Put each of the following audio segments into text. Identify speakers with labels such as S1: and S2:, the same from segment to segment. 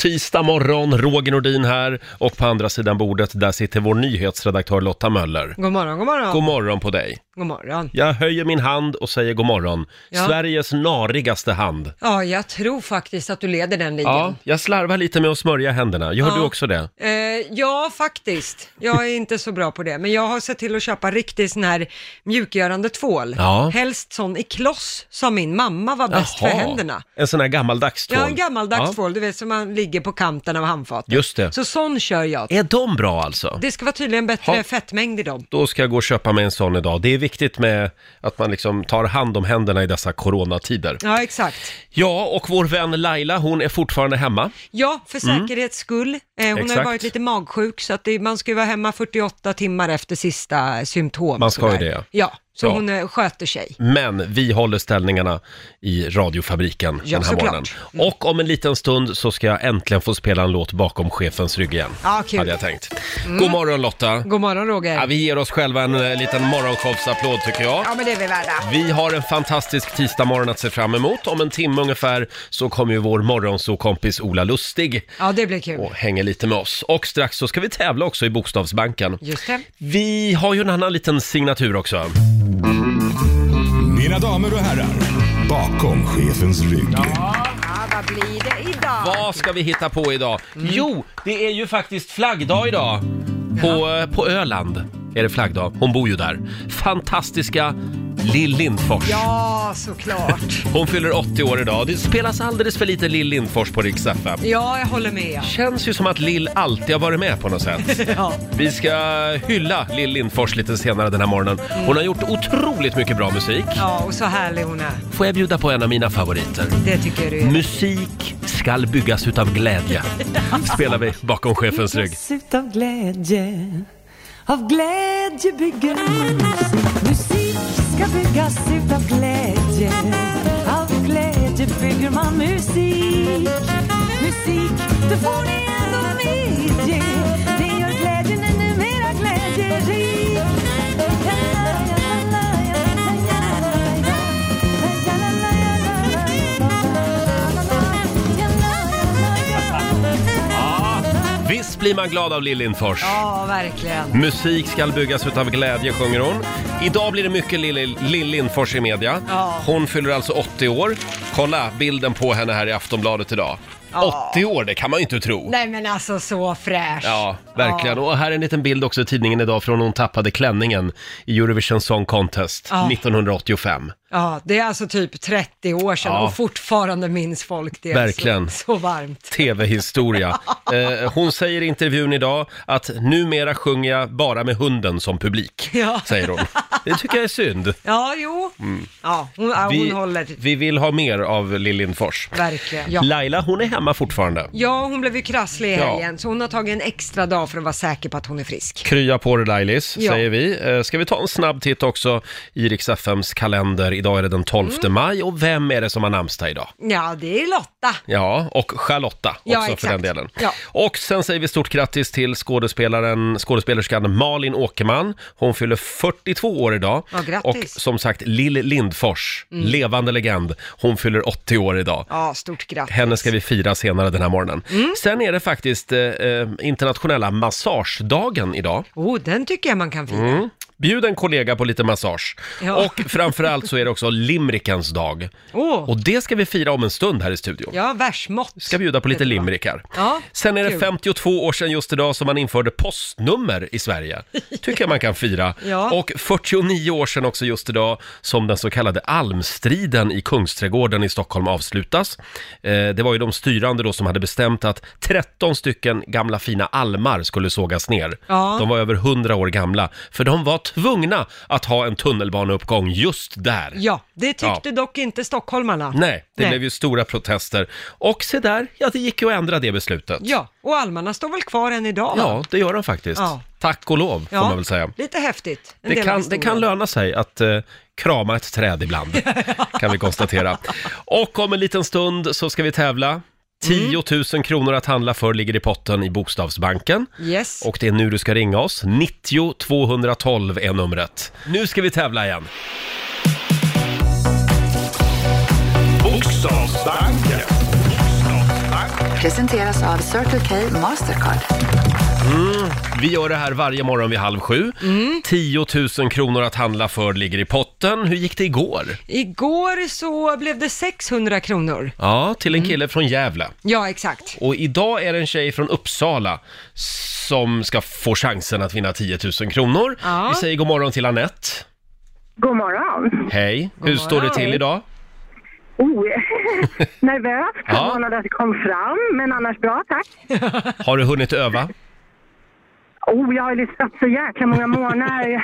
S1: Tisdag morgon, Roger Nordin här och på andra sidan bordet där sitter vår nyhetsredaktör Lotta Möller.
S2: God morgon, god morgon.
S1: God morgon på dig.
S2: God morgon.
S1: Jag höjer min hand och säger god morgon.
S2: Ja.
S1: Sveriges narigaste hand.
S2: Ja, jag tror faktiskt att du leder den
S1: Ja,
S2: ligan.
S1: jag slarvar lite med att smörja händerna. Gör
S2: Ja.
S1: du också det?
S2: Ja. Eh, ja, faktiskt. Jag är inte så bra på det, men jag har sett till att köpa riktig sån här mjukgörande tvål.
S1: Ja.
S2: Helst sån i kloss, som min mamma var bäst för händerna.
S1: En sån här gammaldags tvål.
S2: Ja, en gammaldags
S1: Ja,
S2: tvål, du vet, som man ligger på kanten av handfatet.
S1: Just det.
S2: Så sån kör jag.
S1: Är de bra alltså?
S2: Det ska vara tydligen bättre
S1: Ja.
S2: fettmängd i dem.
S1: Då ska jag gå och köpa mig en sån idag. Det är viktigt med att man liksom tar hand om händerna i dessa coronatider.
S2: Ja, exakt.
S1: Ja, och vår vän Laila, hon är fortfarande hemma.
S2: Ja, för säkerhets skull. Eh, hon har
S1: Mm. Exakt.
S2: ju varit lite magsjuk, så att det, man ska ju vara hemma 48 timmar efter sista symptom.
S1: Man ska ju
S2: sådär.
S1: det, ja.
S2: Ja, så
S1: Ja.
S2: hon eh, sköter sig.
S1: Men vi håller ställningarna i radiofabriken
S2: Ja,
S1: den här
S2: såklart.
S1: morgonen. Och om en liten stund så ska jag äntligen få spela en låt bakom chefens rygg igen.
S2: Ja, kul. Mm.
S1: Hade jag tänkt. God morgon Lotta!
S2: God morgon Roger.
S1: Ja,
S2: Ja,
S1: vi ger oss själva en eh, liten morgonshowsapplåd tycker jag.
S2: men det är vi värda.
S1: Vi har en fantastisk tisdagmorgon att se fram emot. Om en timme ungefär så kommer ju vår morgonsokompis Ola Lustig
S2: Ja, det blir kul.
S1: och hänger lite med oss. Och strax så ska vi tävla också i Bokstavsbanken.
S2: Just det.
S1: Vi har ju en annan liten signatur också.
S3: Mina damer och herrar, bakom chefens rygg.
S2: Ja, vad blir det idag?
S1: Vad ska vi hitta på idag?
S2: Mm.
S1: Jo, det är ju faktiskt flaggdag idag. På, eh, på Öland är det flaggdag. Hon bor ju där. Fantastiska Lill Lindfors.
S2: Ja, såklart.
S1: Hon fyller 80 år idag. Det spelas alldeles för lite Lill Lindfors på Rix FM.
S2: Ja, jag håller med.
S1: Känns ju som att Lill alltid har varit med på något sätt.
S2: Ja.
S1: Vi ska hylla Lill Lindfors lite senare den här morgonen. Hon har gjort otroligt mycket bra musik.
S2: ja, och så härlig hon är.
S1: Får jag bjuda på en av mina favoriter?
S2: Det tycker du är.
S1: Musik skall byggas utav glädje. Spelar vi bakom chefens rygg.
S4: Ut av glädje, av glädje bygger musik. Musik ska byggas ut av glädje, av glädje bygger man musik. Musik, det får ni ändå medge, det gör glädjen ännu mera glädjerik.
S1: Visst blir man glad av Lill Lindfors?
S2: Ja, verkligen.
S1: Musik ska byggas utav glädje, sjunger hon. Idag blir det mycket Lill, Lill Lindfors i media.
S2: Ja.
S1: Hon fyller alltså 80 år. Kolla bilden på henne här i Aftonbladet idag. 80 år, det kan man ju inte tro.
S2: Nej, men alltså så fräsch.
S1: Ja, verkligen. Och här är en liten bild också i tidningen idag från hon tappade klänningen i Eurovision Song Contest
S2: Ja.
S1: 1985.
S2: Ja, det är alltså typ 30 år sedan
S1: Ja.
S2: och fortfarande minns folk det.
S1: Verkligen.
S2: Så, så varmt.
S1: TV-historia. Eh, hon säger i intervjun idag att numera sjunger jag bara med hunden som publik,
S2: Ja.
S1: säger hon. Det tycker jag är synd.
S2: Ja, jo. Ja, hon, ja, hon
S1: Mm. Vi,
S2: håller.
S1: vi vill ha mer av Lill Lindfors.
S2: Verkligen. Ja.
S1: Laila, hon är hemma fortfarande.
S2: ja, hon blev ju krasslig i
S1: Ja.
S2: helgen, så hon har tagit en extra dag för att vara säker på att hon är frisk.
S1: Krya på dig Lailis,
S2: Ja.
S1: säger vi. Eh, Ska vi ta en snabb titt också i Rix FMs kalender. Idag är det den 12
S2: Mm.
S1: maj och vem är det som har namnsdag idag?
S2: Ja, det är Lotta.
S1: Ja, och Charlotta också
S2: Ja,
S1: för
S2: exakt.
S1: den delen.
S2: Ja.
S1: Och sen säger vi stort grattis till skådespelaren, skådespelerskan Malin Åkerman. Hon fyller 42 år idag.
S2: Ja,
S1: och
S2: grattis. Mm.
S1: som sagt, Lill Lindfors, levande legend, hon fyller 80 år idag.
S2: Ja, stort grattis.
S1: Henne ska vi fira senare den här morgonen.
S2: Mm.
S1: Sen är det faktiskt eh, eh, internationella massagedagen idag.
S2: Oh, den tycker jag man kan fira.
S1: Mm. Bjud en kollega på lite massage.
S2: Ja.
S1: Och framförallt så är det också limrikens dag.
S2: Åh.
S1: Och det ska vi fira om en stund här i studion.
S2: Ja, versmått.
S1: ska bjuda på lite
S2: Heter det, va?
S1: limrikar.
S2: Ja,
S1: Sen är det
S2: kul.
S1: 52 år sedan just idag som man införde postnummer i Sverige. Tycker jag man kan fira.
S2: Ja.
S1: Och 49 år sedan också just idag som den så kallade almstriden i Kungsträdgården i Stockholm avslutas. Eh, det var ju de styrande då som hade bestämt att 13 stycken gamla fina almar skulle sågas ner.
S2: Ja.
S1: De var över 100 år gamla, för de var tvungna att ha en tunnelbaneuppgång just där.
S2: Ja, det tyckte dock inte stockholmarna.
S1: Nej, det
S2: Nej.
S1: blev ju stora protester. Och se där, ja det gick ju att ändra det beslutet.
S2: Ja, och almarna står väl kvar än idag? va?
S1: Ja, det gör de faktiskt.
S2: Ja.
S1: Tack och lov, får
S2: Ja,
S1: man väl säga.
S2: Lite häftigt.
S1: Det
S2: En del av
S1: kan, det
S2: historien.
S1: kan löna sig att eh, krama ett träd ibland, kan vi konstatera. Och om en liten stund så ska vi
S2: Mm.
S1: tävla. 10 000 kronor att handla för ligger i potten i Bokstavsbanken.
S2: Yes.
S1: Och det är nu du ska ringa oss. 90 212 är numret. Nu ska vi tävla igen.
S3: Bokstavsbanken.
S5: presenteras av Circle K Mastercard.
S1: Vi gör det här varje morgon vid halv sju.
S2: Mm.
S1: 10 000 kronor att handla för ligger i potten. Hur gick det igår?
S2: Igår så blev det 600 kronor.
S1: Ja, till
S2: Mm.
S1: en kille från Gävle.
S2: Ja, exakt.
S1: Och idag är det en tjej från Uppsala som ska få chansen att vinna 10 000 kronor.
S2: Ja.
S1: Vi säger god morgon till Anette.
S6: God morgon.
S1: Hej, hur står det
S2: morgon.
S1: till idag?
S6: Oh, nervös,
S1: Ja.
S6: förvånad att det kom fram, men annars bra tack.
S1: Har du hunnit öva?
S6: Oh, jag har lyssnat så jäkla många månader.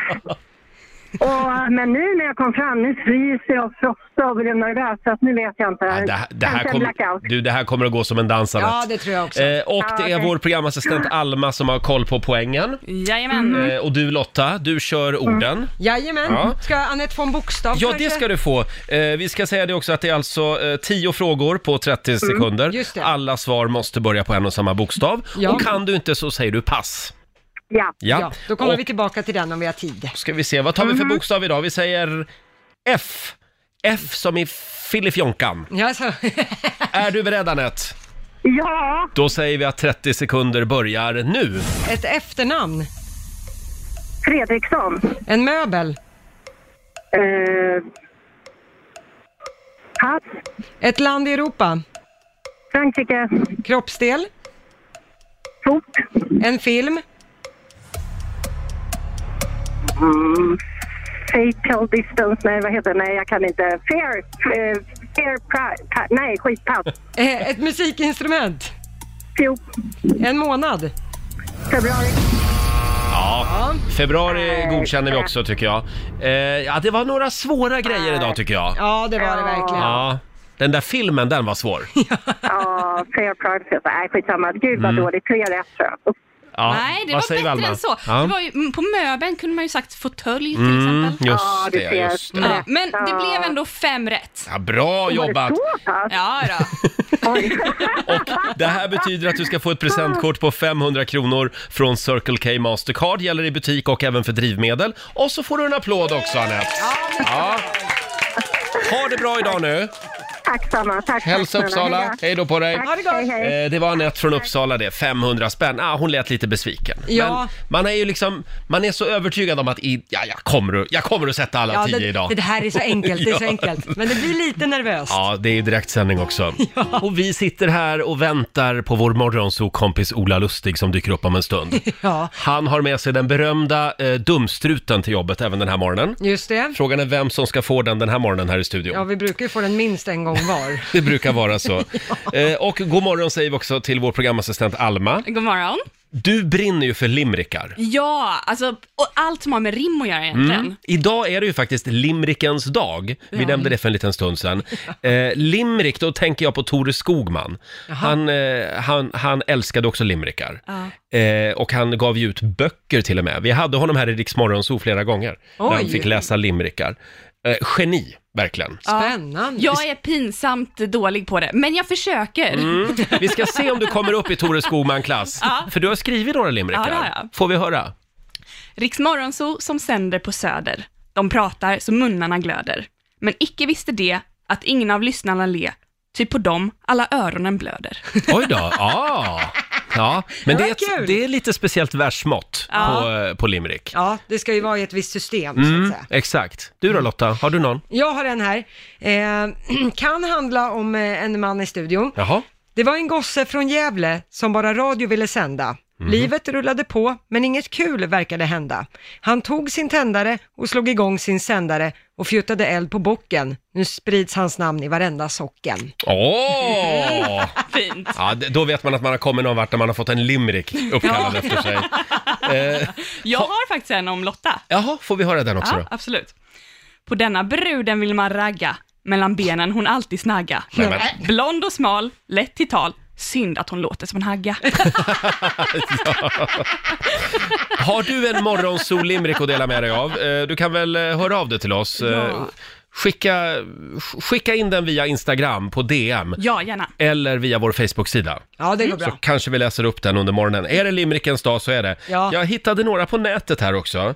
S6: Och, men nu när jag kom fram, nu fryser jag och frostar och blir nervös, så att nu vet jag inte.
S1: Ja, det, här- det, här
S6: Kanske en
S1: kommer-
S6: blackout.
S1: du, det här kommer att gå som en dans, Anette.
S2: Ja, det tror jag också.
S1: Eh, och det är
S6: okej.
S1: vår programassistent Alma som har koll på poängen.
S7: Jajamän.
S1: Eh, och du Lotta, du kör orden.
S2: Jajamän.
S1: Ja.
S2: Ska Anette få en bokstav
S1: Ja,
S2: kanske?
S1: det ska du få. Eh, vi ska säga det också att det är alltså eh, 10 frågor på 30 sekunder.
S2: just det.
S1: Alla svar måste börja på en och samma bokstav.
S2: Ja.
S1: Och kan du inte så säger du pass.
S6: Ja.
S1: Ja.
S2: Ja, då kommer
S1: och
S2: vi tillbaka till den om vi har tid.
S1: ska vi se, vad tar vi
S7: Mm.
S1: för bokstav idag? Vi säger F. F som i Filifjonkan.
S2: Ja, så.
S1: Är du beredd Anette?
S6: ja,
S1: Då säger vi att 30 sekunder börjar nu.
S2: Ett efternamn.
S6: Fredriksson.
S2: En möbel.
S6: Eh, pass.
S2: Ett land i Europa.
S6: Frankrike.
S2: Kroppsdel.
S6: Fot.
S2: En film.
S6: Mm. Fatal distance. Nej, vad heter det? Nej, jag kan inte. Fair. eh, fair pri- pa- nej, skit. Pass.
S2: Eh, Ett musikinstrument.
S6: Jo,
S2: En månad.
S6: februari.
S1: Februari godkänner vi också tycker jag. Eh, ja, det var några svåra grejer idag tycker jag.
S2: Ja, det var det verkligen.
S1: Ja, den där filmen, den var svår.
S6: Ja, fair price. Nej, skitsamma. Gud
S1: Mm.
S6: vad dåligt. Tre rätt tror jag.
S1: Ja,
S7: Nej, det
S1: vad
S7: var
S1: säger
S7: bättre
S1: Alma?
S7: än så.
S1: Ja. Mm.
S7: Det var ju, mm, på möbeln kunde man ju sagt fåtölj till exempel.
S1: Just
S6: Ja, du
S1: det,
S6: ser.
S1: just det.
S6: Mm.
S7: Ja, men det
S6: Ja.
S7: blev ändå fem rätt.
S1: Ja, bra jobbat!
S6: Så pass?
S7: Ja då.
S6: Oj.
S1: Och det här betyder att du ska få ett presentkort på 500 kronor från Circle K Mastercard. Gäller i butik och även för drivmedel. Och så får du en applåd också, Anette. Ja. Ha det bra idag nu!
S6: Tack samma. Tack.
S1: Hälsa
S6: tack, snälla.
S1: Uppsala! Hej då på dig!
S6: Tack, hej, hej.
S1: Eh, Det var Anette från Uppsala det, 500 spänn. Ah, hon lät lite besviken.
S2: Ja.
S1: Men man är ju liksom, man är så övertygad om att i, ja, jag, kommer att, jag kommer att sätta alla
S2: Ja,
S1: tio
S2: det,
S1: idag.
S2: det här är så enkelt, det är så
S1: Ja.
S2: enkelt. Men det blir lite nervöst.
S1: Ja, det är ju direktsändning också. Och vi sitter här och väntar på vår morgonsokompis Ola Lustig som dyker upp om en stund.
S2: Ja,
S1: Han har med sig den berömda eh, dumstruten till jobbet även den här morgonen.
S2: just det.
S1: Frågan är vem som ska få den den här morgonen här i
S2: Ja,
S1: studion.
S2: vi brukar ju få den minst en gång var.
S1: Det brukar vara så. eh, och god morgon säger vi också till vår programassistent Alma.
S7: God morgon.
S1: Du brinner ju för limrikar.
S7: Ja, alltså och allt som har med rim att
S1: Mm.
S7: göra egentligen.
S1: Idag är det ju faktiskt limrikens dag. Vi nämnde det för en liten stund sedan. Eh, limrik, då tänker jag på Tore Skogman. Han, eh, han, han älskade också limrikar. Eh, och han gav ju ut böcker till och med. Vi hade honom här i Rix Morgonzoo flera gånger. När han
S2: Oj.
S1: fick läsa limrikar. Eh, geni, verkligen.
S2: Spännande.
S7: Jag är pinsamt dålig på det, men jag försöker.
S1: Vi ska se om du kommer upp i Tore Skogman-klass. För du har skrivit några limrikar.
S7: Ja, det har jag.
S1: Får vi höra?
S7: Riks Morgonzoo som sänder på Söder. De pratar så munnarna glöder. Men icke visste det att ingen av lyssnarna le, ty på dem alla öronen blöder.
S1: Oj då, ah. ja. Men det är,
S2: kul.
S1: ett, det är lite speciellt versmått på, eh, på limrik.
S2: Ja, det ska ju vara i ett visst system,
S1: Mm.
S2: så att säga.
S1: Exakt. Du då
S7: Mm.
S1: Lotta, har du någon?
S2: Jag har en här. Eh, kan handla om eh, en man i studion.
S1: Jaha.
S2: Det var en gosse från Gävle som bara radio ville sända.
S1: Mhm.
S2: Livet rullade på, men inget kul verkade hända. Han tog sin tändare och slog igång sin sändare och fjuttade eld på bocken. Nu sprids hans namn i varenda socken.
S1: Åh!
S7: Fint.
S1: Ja, d- då vet man att man har kommit någon vart när man har fått en limrik uppkallad efter sig. Eh,
S7: Jag har faktiskt en om Lotta.
S1: Jaha, får vi höra den också
S7: Ja,
S1: då?
S7: absolut. På denna bruden vill man ragga, mellan benen hon alltid snagga.
S1: Nej, men,
S7: Blond och smal, lätt till tal, synd att hon låter som en hagga.
S1: har du en morgonsollimrik att dela med dig av? Eh, Du kan väl eh, höra av dig till oss? Eh,
S7: Ja.
S1: Skicka, sk- skicka in den via Instagram på DM
S7: Ja, gärna.
S1: eller via vår Facebook-sida.
S2: Ja, det går
S1: Så
S2: bra.
S1: kanske vi läser upp den under morgonen. Är det limrikens dag så är det.
S2: Ja.
S1: Jag hittade några på nätet här också. Eh,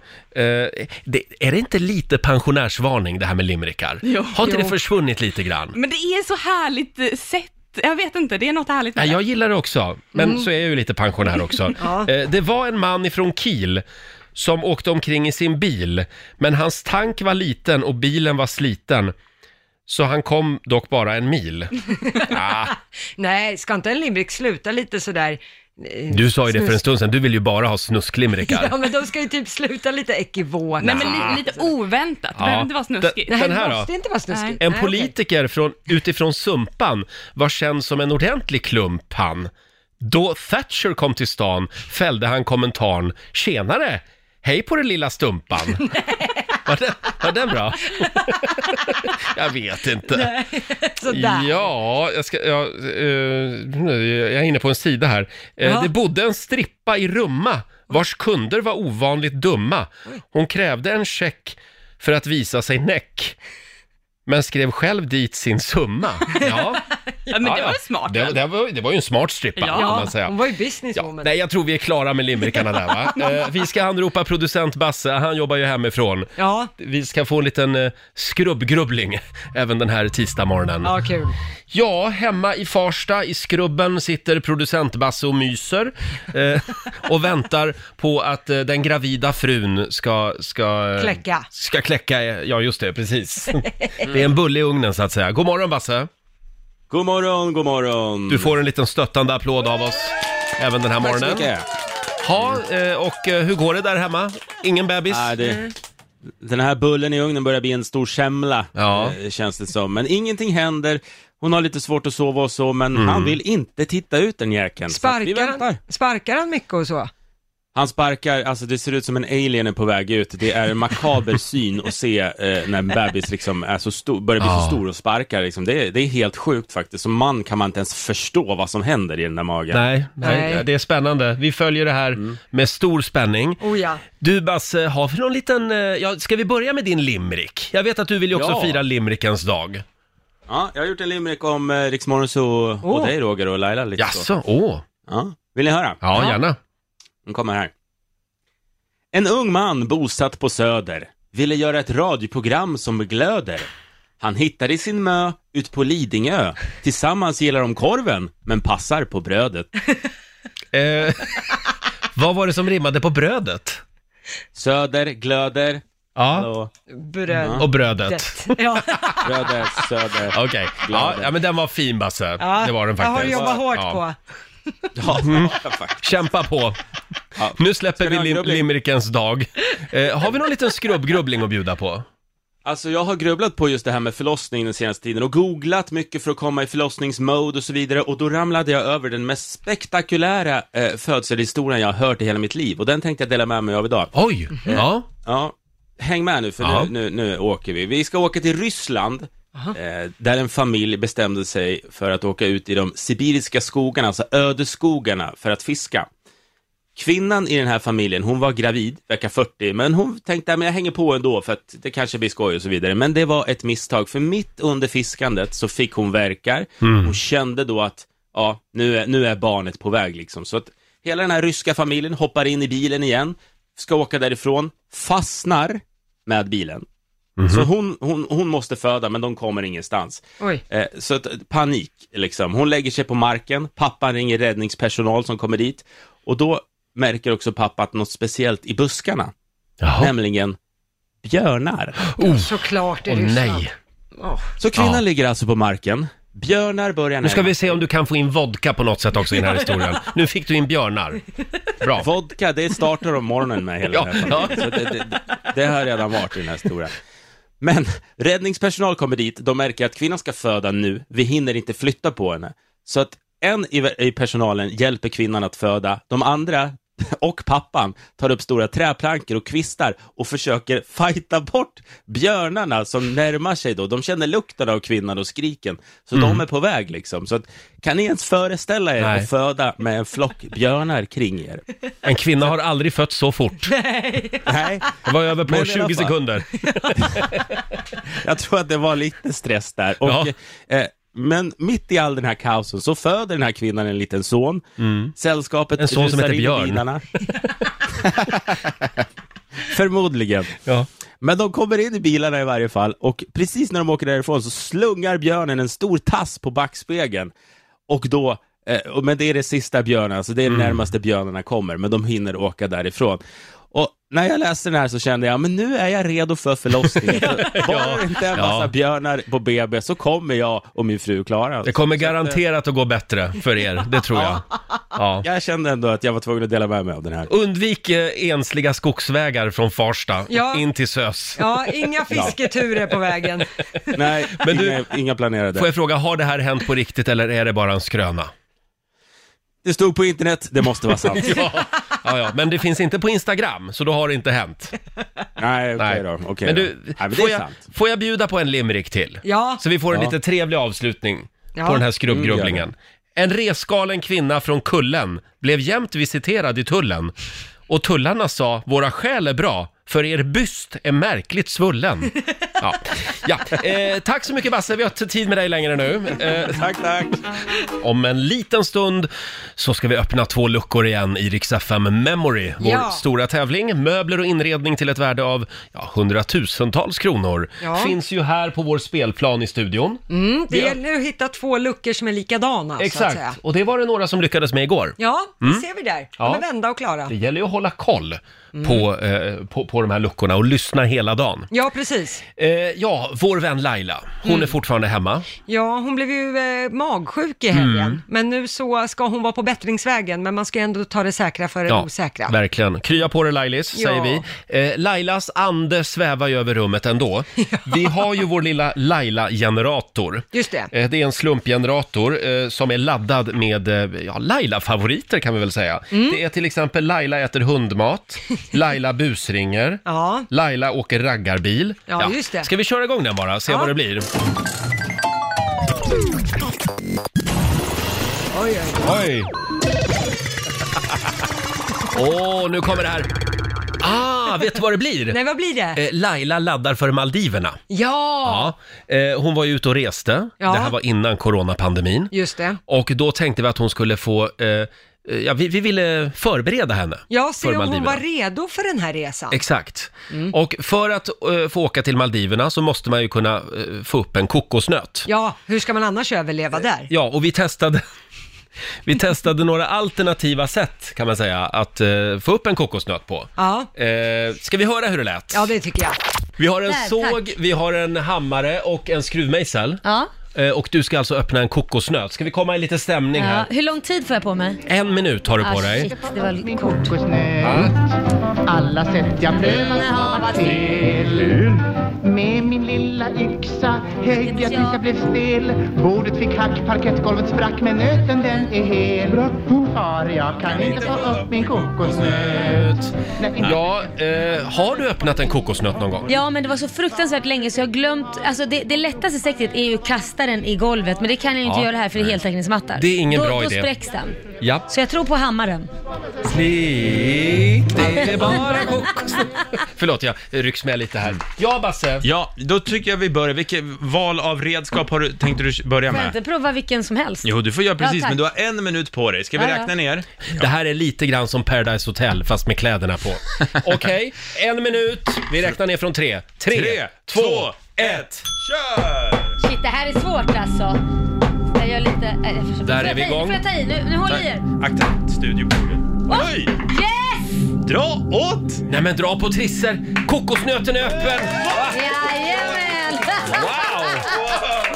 S1: det, är det inte lite pensionärsvarning det här med limrikar?
S7: Jo.
S1: Har inte det
S2: Jo. Mm.
S1: försvunnit lite grann?
S7: Men det är så härligt eh, sätt jag vet inte, det är något härligt med
S1: Nej,
S7: det.
S1: jag gillar det också, men så är jag ju lite pensionär också.
S2: Mm. Ja.
S1: Eh, Det var en man ifrån Kiel som åkte omkring i sin bil, men hans tank var liten och bilen var sliten. Så han kom dock bara en mil. Ah,
S2: Nej, ska inte en limerick sluta lite sådär? eh,
S1: du sa ju det för en
S2: snus-
S1: stund sedan, du vill ju bara ha snusklimrikar.
S2: Ja, men de ska ju typ sluta lite ekivoka.
S7: Nej, men li- lite oväntat. Det
S1: Ja.
S7: behöver inte vara snuskigt.
S1: Den
S2: Nej,
S1: här
S2: det
S1: då?
S2: måste inte vara snuskigt.
S1: En
S2: Nej, okej.
S1: politiker från, utifrån Sumpan var känd som en ordentlig klump han. Då Thatcher kom till stan fällde han kommentaren “Tjenare! Hej på den lilla stumpan!” var, den, var den bra? jag vet inte.
S2: Sådär.
S1: Ja, jag, ska, jag, eh, jag är inne på en sida här. Eh,
S2: Ja.
S1: Det bodde en strippa i Rumma vars kunder var ovanligt dumma. Hon krävde en check för att visa sig näck. Men skrev själv dit sin summa. Ja,
S7: Ja, men det var ju smart.
S1: Det, det, var, det var ju en smart strippa,
S7: Ja.
S1: kan man säga.
S2: Hon var ju
S1: Ja,
S2: businesswoman.
S1: nej, jag tror vi är klara med limericarna där va? Eh, vi ska anropa producent Basse, han jobbar ju hemifrån.
S2: Ja,
S1: Vi ska få en liten eh, skrubbgrubbling även den här tisdagmorgonen.
S2: ja kul.
S1: Ja, hemma i Farsta i skrubben sitter producent Basse och myser eh, och väntar på att eh, den gravida frun ska... ska eh,
S2: Kläcka.
S1: Ska kläcka, eh, ja just det, precis. Det är en bulle i ugnen så att säga. God morgon Basse!
S8: God morgon, god morgon.
S1: Du får en liten stöttande applåd av oss även den här
S8: Tack så
S1: morgonen.
S8: mycket.
S1: Ja, eh, och eh, hur går det där hemma? Ingen bebis?
S8: Ja, Ah,
S2: Mm.
S8: det, den här bullen i ugnen börjar bli en stor semla,
S1: Ja.
S8: eh, känns det som. Men ingenting händer. Hon har lite svårt att sova och så, men
S1: Mm.
S8: han vill inte titta ut den jäkeln. Så att vi
S2: Sparkar
S8: väntar.
S2: han, sparkar han mycket och så?
S8: Han sparkar, alltså det ser ut som en alien är på väg ut. Det är en makaber syn att se eh, när en bebis liksom är så stor, börjar bli
S1: Ja.
S8: så stor och sparkar. Liksom. Det, är, det är helt sjukt faktiskt. Som man kan man inte ens förstå vad som händer i den där magen.
S1: Nej, nej,
S2: Nej.
S1: det är spännande. Vi följer det här
S8: Mm.
S1: med stor spänning.
S2: Oh ja.
S1: Du Basse, har vi någon liten, eh, ja, ska vi börja med din limrik? Jag vet att du vill ju också
S8: Ja.
S1: fira limrikens dag.
S8: Ja, jag har gjort en limerick om eh, Rix Morgonzoo och,
S2: Åh.
S8: och dig Roger och Laila lite så.
S1: Jaså, åh.
S8: Ja. Vill ni höra?
S1: Ja, gärna.
S8: Den kommer här. En ung man bosatt på Söder ville göra ett radioprogram som glöder. Han hittade sin mö ut på Lidingö. Tillsammans gillar de korven, men passar på brödet.
S1: Eh, vad var det som rimmade på brödet?
S8: Söder, glöder,
S1: Ja,
S8: hallå,
S2: Brödet.
S1: och brödet.
S2: Ja.
S8: bröder, söder.
S1: Okej, ja,
S8: Glödet.
S1: ja men den var fin Basse.
S2: Ja,
S1: Det var den
S2: Jag har
S1: faktiskt.
S2: jobbat hårt
S1: Ja.
S2: på.
S8: Ja, ja, faktiskt.
S1: Kämpa på.
S8: Ja.
S1: Nu släpper
S8: Ska ni
S1: vi
S8: ha en
S1: lim-
S8: grubbling?
S1: limrikens dag. Eh, har vi någon liten skrubbgrubbling att bjuda på?
S8: Alltså jag har grubblat på just det här med förlossning den senaste tiden och googlat mycket för att komma i förlossningsmode och så vidare och då ramlade jag över den mest spektakulära eh, födselhistorien jag har hört i hela mitt liv och den tänkte jag dela med mig av idag.
S1: Oj! Ja.
S8: Ja, häng med nu för
S1: Ja.
S8: nu, nu, nu åker vi. Vi ska åka till Ryssland, eh, där en familj bestämde sig för att åka ut i de sibiriska skogarna, alltså ödeskogarna, för att fiska. Kvinnan i den här familjen, hon var gravid, vecka 40, men hon tänkte att jag hänger på ändå för att det kanske blir skoj och så vidare. Men det var ett misstag, för mitt under fiskandet så fick hon verkar. Hon kände då att, ja, nu är, nu är barnet på väg liksom. Så att hela den här ryska familjen hoppar in i bilen igen, ska åka därifrån, fastnar med bilen. Så hon, hon, hon måste föda, men de kommer ingenstans.
S2: Oj.
S8: Eh, så att, panik, liksom. Hon lägger sig på marken, pappan ringer räddningspersonal som kommer dit. Och då märker också pappa att något speciellt i buskarna,
S1: Jaha.
S8: nämligen björnar.
S1: Oh,
S2: Såklart i
S1: åh
S2: Ryssland.
S1: nej.
S2: Åh.
S8: Så kvinnan
S1: Ja.
S8: ligger alltså på marken, björnar börjar
S1: Nu ska
S8: närma
S1: vi se om du kan få in vodka på något sätt också i den här historien. Nu fick du in björnar. Bra.
S8: Vodka, det startar om morgonen med hela
S1: Ja,
S8: den här familjen. Så det, det, det har redan varit i den här stora. Men räddningspersonal kommer dit, de märker att kvinnan ska föda nu, vi hinner inte flytta på henne. Så att en i, i personalen hjälper kvinnan att föda, de andra och pappan tar upp stora träplankor och kvistar och försöker fighta bort björnarna som närmar sig då. De känner lukten av kvinnan och skriken, så de är på väg liksom. Så att, kan ni ens föreställa er
S1: Mm. Nej.
S8: att föda med en flock björnar kring er?
S1: En kvinna har aldrig fött så fort.
S8: Nej,
S1: Det var över på
S8: Men i alla
S1: 20
S8: fall.
S1: sekunder.
S8: jag tror att det var lite stress där. Och,
S1: Ja.
S8: eh, men mitt i all den här kaosen så föder den här kvinnan en liten son. Sällskapet
S1: Mm. En son som
S8: rusar
S1: heter
S8: in i
S1: Björn.
S8: bilarna. Förmodligen.
S1: Ja.
S8: Men de kommer in i bilarna i varje fall och precis när de åker därifrån så slungar björnen en stor tass på backspegeln. Och då, eh, och- men det är det sista björnen, alltså det är det
S1: Mm.
S8: närmaste björnarna kommer, men de hinner åka därifrån. Och när jag läste den här så kände jag, men nu är jag redo för förlossningen. Bara det inte är en massa
S1: Ja.
S8: björnar på BB så kommer jag och min fru klara oss.
S1: Det kommer garanterat att gå bättre för er, det tror jag. Ja.
S8: Jag kände ändå att jag var tvungen att dela med mig av den här.
S1: Undvik eh, ensliga skogsvägar från Farsta
S2: Ja.
S1: in till Sös.
S2: Ja, inga fisketurer på vägen.
S8: Nej,
S1: Men du-
S8: inga, inga planerade.
S1: Får jag fråga, har det här hänt på riktigt eller är det bara en skröna?
S8: Det stod på internet, det måste vara sant.
S1: Ja, ja, men det finns inte på Instagram, så då har det inte hänt.
S8: Nej, okej
S1: Nej.
S8: då. okej
S1: men
S8: då.
S1: du,
S8: Nej, men det
S1: får,
S8: är
S1: jag,
S8: sant.
S1: får jag bjuda på en limerick till?
S2: Ja,
S1: Så vi får en
S8: Ja.
S1: lite trevlig avslutning
S2: Ja.
S1: på den här skrubbgrubblingen.
S8: Mm,
S1: en resgalen kvinna från Kullen blev jämt visiterad i tullen. Och tullarna sa, våra skäl är bra, för er byst är märkligt svullen. Ja, ja. Eh, tack så mycket Basse, vi har inte tid med dig längre nu. Eh,
S8: Tack, tack.
S1: om en liten stund så ska vi öppna två luckor igen i Rix FM Memory, vår
S2: Ja.
S1: stora tävling. Möbler och inredning till ett värde av ja, hundratusentals kronor.
S2: Ja.
S1: Finns ju här på vår spelplan i studion.
S2: mm, det gäller att hitta två luckor som är likadana så att säga.
S1: Exakt, och det var det några som lyckades med igår.
S2: Ja, det ser vi där. De
S1: Ja.
S2: är vända och klara.
S1: Det gäller ju att hålla koll
S2: Mm.
S1: på, eh, på, på de här luckorna och lyssna hela dagen.
S2: Ja, precis.
S1: Eh, ja, vår vän Laila, hon
S2: Mm.
S1: är fortfarande hemma.
S2: Ja, hon blev ju eh, magsjuk i helgen,
S1: Mm.
S2: men nu så ska hon vara på bättringsvägen, men man ska ju ändå ta det säkra för det osäkra.
S1: verkligen. Krya på dig Lailis,
S2: Ja.
S1: säger vi. Eh, Lailas ande svävar ju över rummet ändå. Vi har ju vår lilla Laila-generator.
S2: Just det.
S1: Eh, Det är en slumpgenerator eh, som är laddad med eh, ja, Laila-favoriter kan vi väl säga.
S2: Mm.
S1: Det är till exempel Laila äter hundmat, Laila busringer,
S2: Ja.
S1: Laila åker raggarbil.
S2: Ja, just det.
S1: Ska vi köra igång den bara, se
S2: Ja.
S1: vad det blir?
S2: Oj, oj.
S1: Oj! Åh, nu kommer det här. Ah, vet du vad det blir?
S2: Nej, vad blir det?
S1: Eh, Laila laddar för Maldiverna.
S2: Ja,
S1: Ja. Eh, hon var ju ute och reste.
S2: Ja.
S1: Det här var innan coronapandemin.
S2: just det.
S1: Och då tänkte vi att hon skulle få, eh, eh, ja, vi, vi ville förbereda henne.
S2: Jag ser
S1: för
S2: om hon
S1: Maldiverna.
S2: var redo för den här resan.
S1: Exakt. Och för att eh, få åka till Maldiverna så måste man ju kunna eh, få upp en kokosnöt.
S2: Ja, hur ska man annars
S1: Eh.
S2: överleva där?
S1: Ja, och vi testade, vi testade några alternativa sätt kan man säga att eh, få upp en kokosnöt på.
S2: Ja,
S1: Eh, ska vi höra hur det lät?
S2: ja det tycker jag.
S1: Vi har en
S9: Där,
S1: såg, vi har en hammare och en skruvmejsel.
S9: Ja.
S1: Eh, och du ska alltså öppna en kokosnöt. Ska vi komma i lite stämning
S9: ja.
S1: här?
S9: Hur lång tid får jag på mig?
S1: En minut har du på
S9: Ah,
S1: dig.
S9: shit, det var kort.
S10: kokosnöt Alla sätt jag prövat har varit fel Med min lilla yxa högg jag tills jag blev stel Bordet fick hack, parkettgolvet sprack men nöten den är hel Far, jag kan inte få upp min kokosnöt Nej,
S1: Ja, eh, har du öppnat en kokosnöt någon gång?
S9: Ja, men det var så fruktansvärt länge så jag har glömt. Alltså det, det lättaste sättet är ju att kasta den i golvet, men det kan jag ju inte
S1: Ja.
S9: göra här för det är heltäckningsmattar.
S1: Det är ingen
S9: då,
S1: bra
S9: då
S1: idé.
S9: Då spräcks den.
S1: Ja.
S9: Så jag tror på hammaren.
S1: Slick, det är bara kokosnöt. Förlåt, jag rycks med lite här. Ja, Basse.
S11: Ja, då tycker jag vi börjar. Vilket val av redskap har du, tänkte du börja
S9: Får jag
S11: med?
S9: inte prova vilken som helst?
S11: Jo, du får göra precis,
S9: tack.
S11: men du har en minut på dig. Ska vi
S9: Ja, ja.
S11: räkna ner?
S1: Det här är lite grann som Paradise Hotel fast med kläderna på. Okej, en minut. Vi räknar ner från tre. Tre,
S11: Tre,
S1: två,
S11: två,
S1: ett.
S11: Kör!
S9: Shit, det här är svårt alltså. Jag gör lite... eh, jag försöker-
S1: Där
S9: får jag
S1: är vi
S9: ta i?
S1: igång.
S9: Får jag ta i? Nu, nu håll i er.
S11: Akta studiobordet. Oj!
S9: Yes!
S11: Dra åt!
S1: Nej men dra på trisser. Kokosnöten är öppen. Va?
S9: Jajamän!
S1: Wow!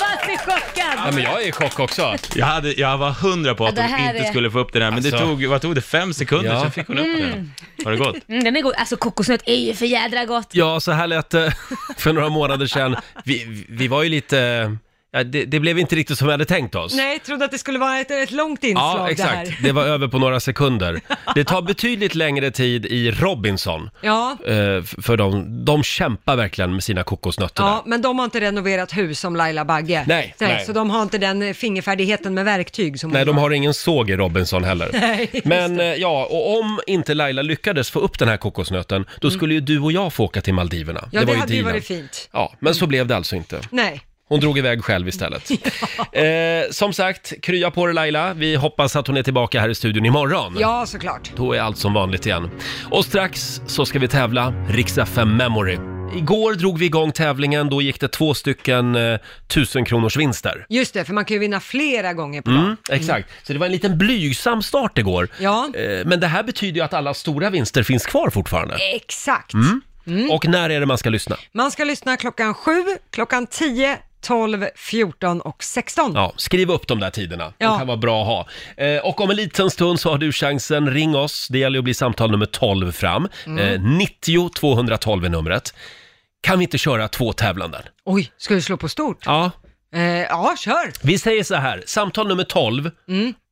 S9: Vad så
S1: Ja,
S9: chockad!
S1: men jag är i chock också.
S11: Jag, hade, jag var hundra på att
S9: Ja, det
S11: hon
S9: här
S11: inte
S9: är-
S11: skulle få upp den här, men det
S1: Alltså.
S11: tog, vad tog det, fem sekunder
S1: Ja.
S11: så fick hon upp den. Var det gott?
S9: Mm, den är god. Alltså kokosnöt är ju för jädra gott.
S1: Ja, så här lät det för några månader sedan. Vi, vi var ju lite... Ja, det, det blev inte riktigt som vi hade tänkt oss.
S2: Nej, jag trodde att det skulle vara ett, ett långt inslag
S1: Ja,
S2: det
S1: exakt.
S2: här.
S1: Det var över på några sekunder. Det tar betydligt längre tid i Robinson.
S2: Ja,
S1: eh, f- För de, de kämpar verkligen med sina kokosnötter där.
S2: ja, men de har inte renoverat hus som Laila Bagge.
S1: Nej, nej.
S2: Så de har inte den eh, fingerfärdigheten med verktyg som
S1: Nej,
S2: hon
S1: de har ingen såg i Robinson heller.
S2: Nej,
S1: Men eh, ja, och om inte Laila lyckades få upp den här kokosnöten, då skulle ju du och jag få åka till Maldiverna.
S2: Mm. Ja, det,
S1: ju
S2: hade ju
S1: dealen.
S2: varit fint. Mm.
S1: Ja, men så blev det alltså inte.
S2: Nej.
S1: Hon drog iväg själv istället. eh, som sagt, krya på dig Laila. Vi hoppas att hon är tillbaka här i studion imorgon.
S2: Ja, såklart.
S1: Då är allt som vanligt igen. Och strax så ska vi tävla Riksa 5 Memory. Igår drog vi igång tävlingen, då gick det två stycken eh, tusenkronors vinster.
S2: Just det, för man kan ju vinna flera gånger på
S1: Mm,
S2: dagen.
S1: exakt, så det var en liten blygsam start igår.
S2: Ja.
S1: Eh, Men det här betyder ju att alla stora vinster finns kvar fortfarande.
S2: Exakt.
S1: Mm. Och när är det man ska lyssna?
S2: Man ska lyssna klockan 7, klockan 10, 12, 14 och 16.
S1: Ja, skriv upp de där tiderna.
S2: Ja.
S1: De kan vara bra att ha. Eh, och om en liten stund så har du chansen. Ring oss. Det gäller ju att bli samtal nummer 12 fram. Eh, 90 212 är numret. Kan vi inte köra två tävlanden?
S2: Oj, ska du slå på stort?
S1: Ja.
S2: Eh, ja, kör!
S1: Vi säger så här, samtal nummer 12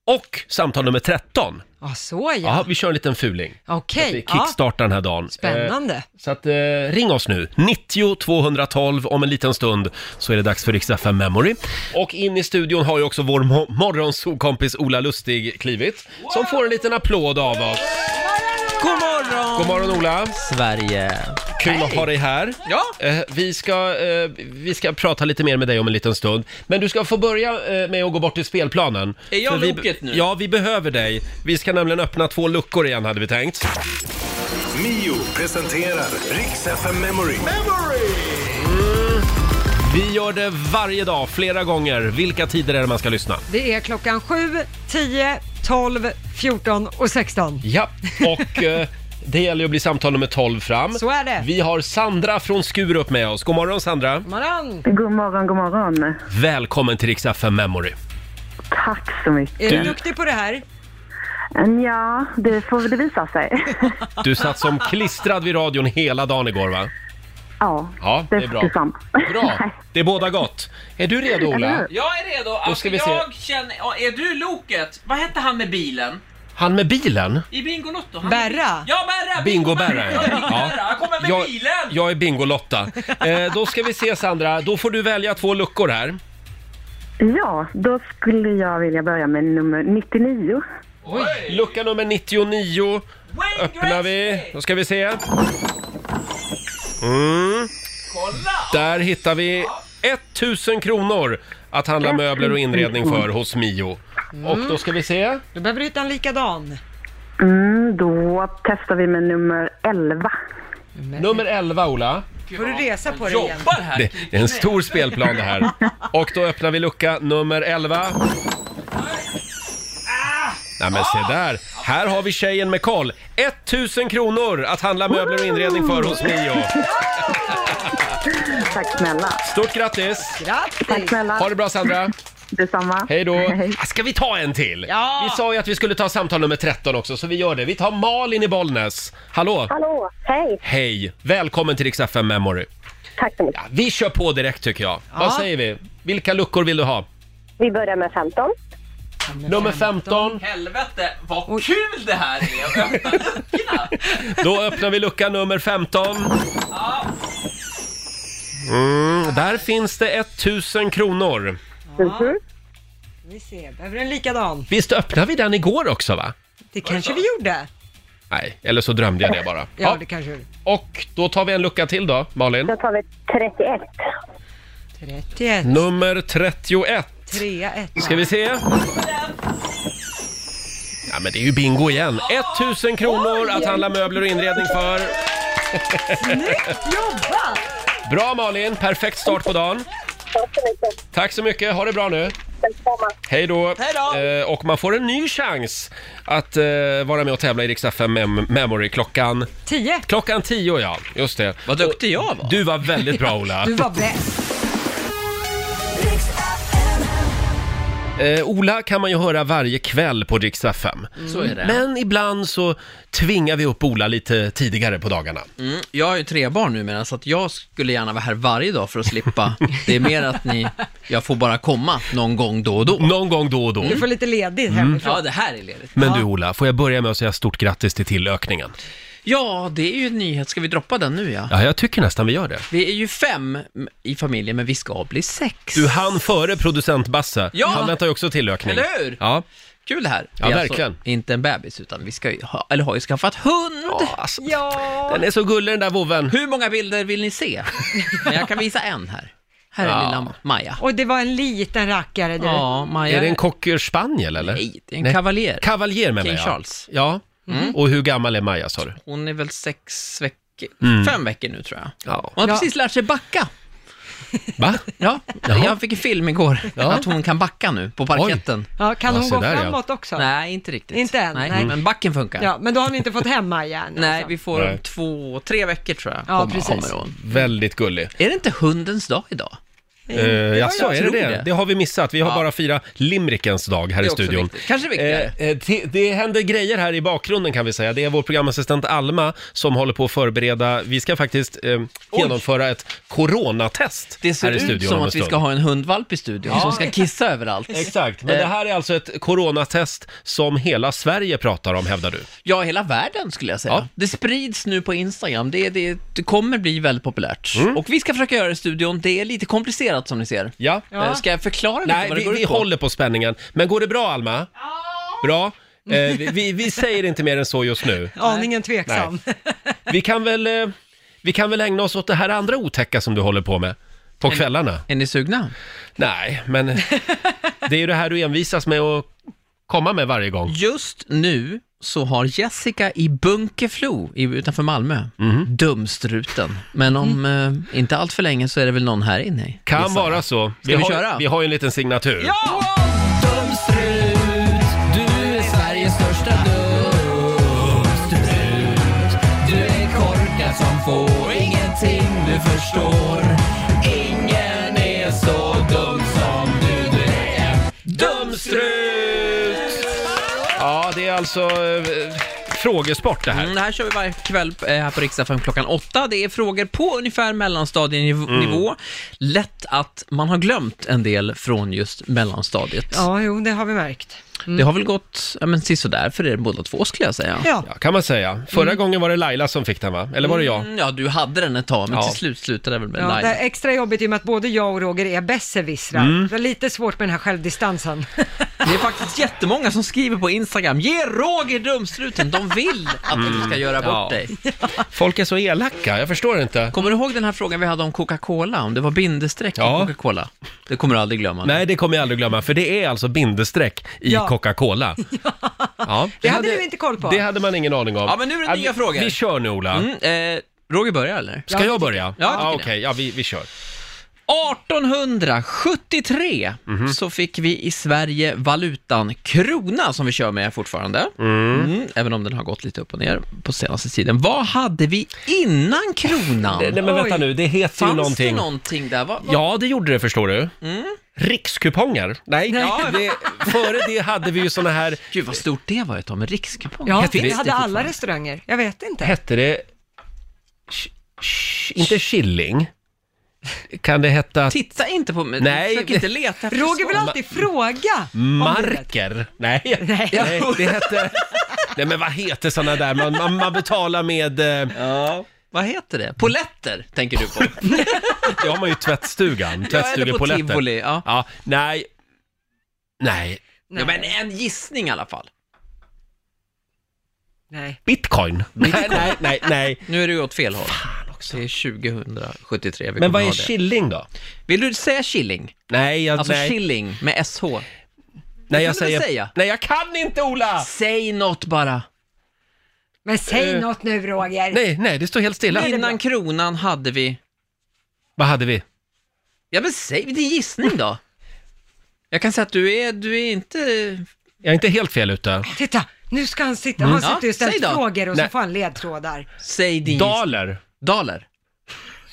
S1: och samtal nummer 13.
S2: Ja, så ja.
S1: Ja, vi kör en liten fuling.
S2: Okej,
S1: Att vi
S2: ja.
S1: kickstartar den här dagen.
S2: Spännande.
S1: Eh, så att, eh, ring oss nu. 90 212. Om en liten stund så är det dags för Riksdag 5 Memory. Och in i studion har ju också vår mo- morgonsokompis Ola Lustig klivit. Som får en liten applåd av oss.
S12: God morgon!
S1: God morgon Ola!
S12: Sverige!
S1: Kul att ha dig här. Ja. vi, ska, eh, vi ska prata lite mer med dig om en liten stund. Men du ska få börja eh, med att gå bort till spelplanen.
S12: Är jag
S1: För vi,
S12: loket nu?
S1: Ja, vi behöver dig. Vi ska nämligen öppna två luckor igen hade vi tänkt.
S13: Mio presenterar Riks FM Memory. Memory!
S1: Vi gör det varje dag, flera gånger. Vilka tider är det man ska lyssna?
S2: Det är klockan 7, 10, 12, 14 och 16.
S1: Ja, och eh, det gäller ju att bli samtal nummer 12 fram.
S2: Så är det.
S1: Vi har Sandra från Skurup med oss. God morgon Sandra!
S2: Morgon!
S14: Eh, God morgon, god morgon.
S1: Välkommen till Rix FM Memory.
S14: Tack så mycket. Eh,
S2: Är du duktig på det här?
S14: Ja, det får väl det visa sig.
S1: Du satt som klistrad vid radion hela dagen igår va?
S14: ja,
S1: Ja, det är bra.
S14: detsamma.
S1: Bra, det är båda gott. Är du redo Ola?
S12: Jag är redo.
S1: Då
S12: Alltså,
S1: ska vi se.
S12: jag känner... ja, Är du Loket? Vad hette han med bilen?
S1: Han med bilen?
S12: I Bingolotto? Han-
S2: Berra?
S12: Ja, Berra!
S1: Bingo-Berra
S12: ja. Berra. Han kommer med
S1: jag,
S12: bilen!
S1: jag är Bingolotta. Eh, då ska vi se Sandra, då får du välja två luckor här.
S14: Ja, då skulle jag vilja börja med nummer 99.
S1: Lucka nummer 99 öppnar vi. Då ska vi se. Mm. Där hittar vi 1000 kronor att handla möbler och inredning för hos Mio. Och då ska vi se.
S2: Du behöver hitta en likadan.
S14: Mm, då testar vi med nummer 11.
S1: Nummer 11, Ola.
S2: Får du resa på dig igen?
S12: Jobbar här!
S1: Det, det är en stor spelplan det här. Och då öppnar vi lucka nummer 11. Nej men se där, här har vi tjejen med koll. 1000 kronor att handla möbler och inredning för hos Mio.
S14: Tack snälla.
S1: Stort grattis!
S14: Tack snälla.
S1: Ha det bra Sandra!
S14: Detsamma.
S1: Hej då! Ah, Ska vi ta en till?
S14: Ja.
S1: Vi sa ju att vi skulle ta samtal nummer 13 också, så vi gör det. Vi tar Malin i Bollnäs. Hallå!
S15: Hallå, hej.
S1: Hej! Välkommen till Rix FM Memory.
S15: Tack så mycket.
S1: Vi kör på direkt tycker jag. Vad säger vi? Vilka luckor vill du ha?
S15: Vi börjar med 15.
S1: Nummer 15.
S12: Helvete, vad kul det här är! att öppna.
S1: Då öppnar vi lucka nummer 15. Mm, där finns det 1000 kronor.
S2: Ja. Vi ser, behöver du en likadan?
S1: Visst öppnade vi den igår också va?
S2: Det kanske vi gjorde.
S1: Nej, eller så drömde jag det bara.
S2: Ja,
S1: Ja,
S2: det kanske vi
S1: och då tar vi en lucka till då, Malin.
S15: Då tar vi 31.
S2: 31.
S1: Nummer 31.
S2: 3-1.
S1: Ska vi se? Ja men det är ju bingo igen. 1000 kronor att handla möbler och inredning för.
S4: Snyggt jobbat!
S1: Bra Malin, perfekt start på dagen. Tack så mycket, ha det bra nu. Hej då! Eh, och man får en ny chans att eh, vara med och tävla i Rix FM Mem- Memory klockan...
S2: 10.
S1: Klockan 10 ja, just det. Vad
S12: duktig jag var.
S1: Du var väldigt bra Ola.
S2: Du var bäst.
S1: Eh, Ola kan man ju höra varje kväll på Rix FM.
S12: Mm. Så är det.
S1: Men ibland så tvingar vi upp Ola lite tidigare på dagarna.
S12: Mm.
S16: Jag har ju tre barn numera, så att jag skulle gärna vara här varje dag för att slippa. Det är mer att ni, jag får bara komma någon gång då och då.
S1: Någon gång då och då.
S2: Du får lite ledigt
S16: Mm.
S2: hemifrån.
S16: Ja, det här är ledigt.
S1: Men du Ola, får jag börja med att säga stort grattis till tillökningen?
S16: Ja, det är ju en nyhet. Ska vi droppa den nu ja?
S1: Ja, jag tycker nästan vi gör det.
S16: Vi är ju fem i familjen, men vi ska bli sex.
S1: Du hann före producent Basse.
S16: Ja.
S1: Han väntar ju också tillökning.
S16: Eller hur?
S1: Ja.
S16: Kul det här.
S1: Ja,
S16: Det är
S1: verkligen.
S16: Alltså inte en bebis, utan vi ska ju ha, eller har ju skaffat hund. Ja,
S1: alltså,
S2: ja.
S1: Den är så gullig den där vovven.
S16: Hur många bilder vill ni se? Men jag kan visa en här. Här är
S1: Ja.
S16: lilla Maja.
S2: Och det var en liten rackare du.
S16: Ja, Maja.
S1: Är det en cocker spaniel eller?
S16: Nej, det är en kavaljer.
S1: Kavaljer med
S16: King
S1: mig, ja.
S16: Charles.
S1: Ja.
S16: Mm.
S1: Och hur gammal är Maja sa du?
S16: Hon är väl sex veckor veckor,
S1: Mm.
S16: fem veckor nu tror jag.
S1: Ja.
S16: Hon har precis lärt sig backa.
S1: Va?
S16: Ja,
S1: Jaha.
S16: jag fick en film igår
S1: Ja.
S16: att hon kan backa nu på parketten.
S2: Ja, kan
S16: Ja,
S2: hon
S16: se
S2: gå
S16: där, ja.
S2: framåt också?
S16: Nej, inte riktigt.
S2: Inte än?
S16: Nej, men backen funkar.
S2: Ja, men då har ni inte fått hemma igen?
S16: Nej,
S2: alltså.
S16: vi får om två, tre veckor tror jag.
S2: Ja,
S16: kommer-
S2: precis.
S16: kommer hon.
S1: Väldigt gullig.
S16: Är det inte hundens dag idag?
S1: Uh, jaså,
S16: jag
S1: är det
S16: tror
S1: det?
S16: det.
S1: Det har vi missat. Vi har bara firat limrikens dag här
S16: Det
S1: i
S16: är också
S1: studion.
S16: viktigt. Kanske viktigare.
S1: Eh, eh, det, det händer grejer här i bakgrunden kan vi säga. Det är vår programassistent Alma som håller på att förbereda. Vi ska faktiskt eh, genomföra ett coronatest
S16: Det ser
S1: här i
S16: ut
S1: studion
S16: som
S1: om en
S16: att vi
S1: stund.
S16: ska ha en hundvalp i studion
S1: Ja.
S16: som ska kissa överallt.
S1: Exakt, men det här är alltså ett coronatest som hela Sverige pratar om, hävdar du.
S16: Ja, hela världen skulle jag säga.
S1: Ja.
S16: Det sprids nu på Instagram. Det, det, det kommer bli väldigt populärt.
S1: Mm.
S16: Och vi ska försöka göra det i studion. Det är lite komplicerat som ni ser.
S1: Ja.
S16: Eh, Ska jag förklara lite
S1: Nej,
S16: vad det
S1: vi,
S16: går
S1: vi
S16: ut på?
S1: håller på spänningen. Men går det bra, Alma? Bra. Eh, vi, vi, vi säger inte mer än så just nu.
S2: Aningen tveksam.
S1: Vi kan väl, eh, vi kan väl ägna oss åt det här andra otäcka som du håller på med på kvällarna.
S16: Är ni sugna?
S1: Nej, men det är ju det här du envisas med att komma med varje gång.
S16: Just nu så har Jessica i Bunkeflo i- utanför Malmö dumstruten. Men om eh, inte allt för länge så är det väl någon här inne.
S1: Kan
S16: gissar jag.
S1: vara så.
S16: Ska vi,
S1: har,
S16: köra?
S1: Vi har ju en liten signatur.
S16: Ja! Dumstrut, du är Sveriges största dumstrut. Du är korkad som får ingenting du förstår. Ingen är så dum som du, du är en
S1: dumstrut! Ja, det är alltså eh, frågesport det här.
S16: Mm, det här kör vi varje kväll eh, här på Riksdag 5 klockan åtta. Det är frågor på ungefär mellanstadienivå.
S1: Mm.
S16: Lätt att man har glömt en del från just mellanstadiet.
S2: Ja, jo, det har vi märkt. Mm.
S16: Det har väl gått ja, men, sådär för er båda två skulle jag säga.
S2: Ja.
S1: kan man säga. Förra
S16: Mm.
S1: gången var det Laila som fick den va? Eller var det jag?
S16: ja, du hade den ett tag, men
S1: Ja.
S16: till slut slutade det väl med
S2: Ja, det
S16: Laila.
S2: är extra jobbigt i och med att både jag och Roger är besserwissrar.
S16: Mm.
S2: Det är lite svårt med den här självdistansen.
S16: Det är faktiskt jättemånga som skriver på Instagram, ge Roger dumstruten, de vill att du ska göra bort
S1: Ja.
S16: dig.
S1: Folk är så elaka, jag förstår inte.
S16: Kommer du ihåg den här frågan vi hade om Coca-Cola, om det var bindestreck i Coca-Cola? Det kommer du aldrig glömma.
S1: Nej, det kommer jag aldrig glömma, för det är alltså bindestreck i
S16: Ja.
S1: Coca-Cola. Ja.
S16: Det hade du inte koll på.
S1: Det hade man ingen aning om.
S16: Ja, men nu är det
S1: Ja,
S16: nya
S1: vi,
S16: frågor.
S1: Vi kör nu, Ola.
S16: Mm, eh, Roger börjar eller?
S1: Ska jag börja?
S16: Ja,
S1: ah,
S16: jag
S1: okej.
S16: tycker
S1: Ja, vi, vi kör.
S16: det. 1873
S1: Mhm.
S16: så fick vi i Sverige valutan krona som vi kör med fortfarande. Mm, även om den har gått lite upp och ner på senaste tiden. Vad hade vi innan kronan?
S1: Nej, men vänta nu, det heter ju
S16: Fanns
S1: någonting.
S16: det Mm. någonting där? Vad- vad-
S1: Ja, det gjorde det, förstår du. Rikskuponger? Nej,
S16: Ja.
S1: det, före det hade vi ju såna här...
S16: Gud, vad stort det var ett tag med rikskuponger.
S2: Ja,
S1: Hette
S2: det
S1: det-
S2: hade alla restauranger. Jag vet inte.
S1: Hette det... ch- ch- Inte shilling? Kan det heta...
S16: Titta inte på mig,
S1: Nej.
S16: försök inte leta efter
S2: Roger vill
S16: svar.
S2: alltid fråga.
S16: Mm.
S2: om du vet.
S1: Marker? Nej, nej. det hette... Nej men vad heter såna där, man, man, man betalar med... eh,
S16: Ja, vad heter det? Poletter, tänker du på.
S1: Det har man ju i tvättstugan,
S16: Ja, eller på
S1: tvättstugepoletter.
S16: tivoli, ja.
S1: Nej, nej.
S16: Ja, men en gissning i alla fall.
S2: Nej.
S1: Bitcoin? Nej, nej, nej, nej.
S16: Nu är du åt fel håll. Fan också. Det är 2073 vi
S1: Men
S16: kommer
S1: vad
S16: ha
S1: är
S16: det.
S1: shilling då?
S16: Vill du säga shilling?
S1: Nej, jag...
S16: Alltså
S1: nej.
S16: shilling med sh.
S1: Nej, jag
S16: kan du
S1: säger...
S16: väl säga?
S1: Nej, jag kan inte Ola!
S16: Säg något bara.
S2: Men säg
S16: Eh,
S2: något nu Roger.
S1: Nej, nej, det står helt stilla.
S16: Innan kronan hade vi...
S1: Vad hade vi?
S16: Ja men säg din gissning då. Jag kan säga att du är, du är inte...
S1: Jag är inte helt fel ute.
S2: Titta, nu ska han sitta.
S1: Mm.
S2: Han sitter ju
S16: Ja,
S2: och ställt
S16: säg då.
S2: frågor och så
S1: Nej.
S2: får han ledtrådar.
S16: Säg din gissning.
S1: Daler?
S16: Daler.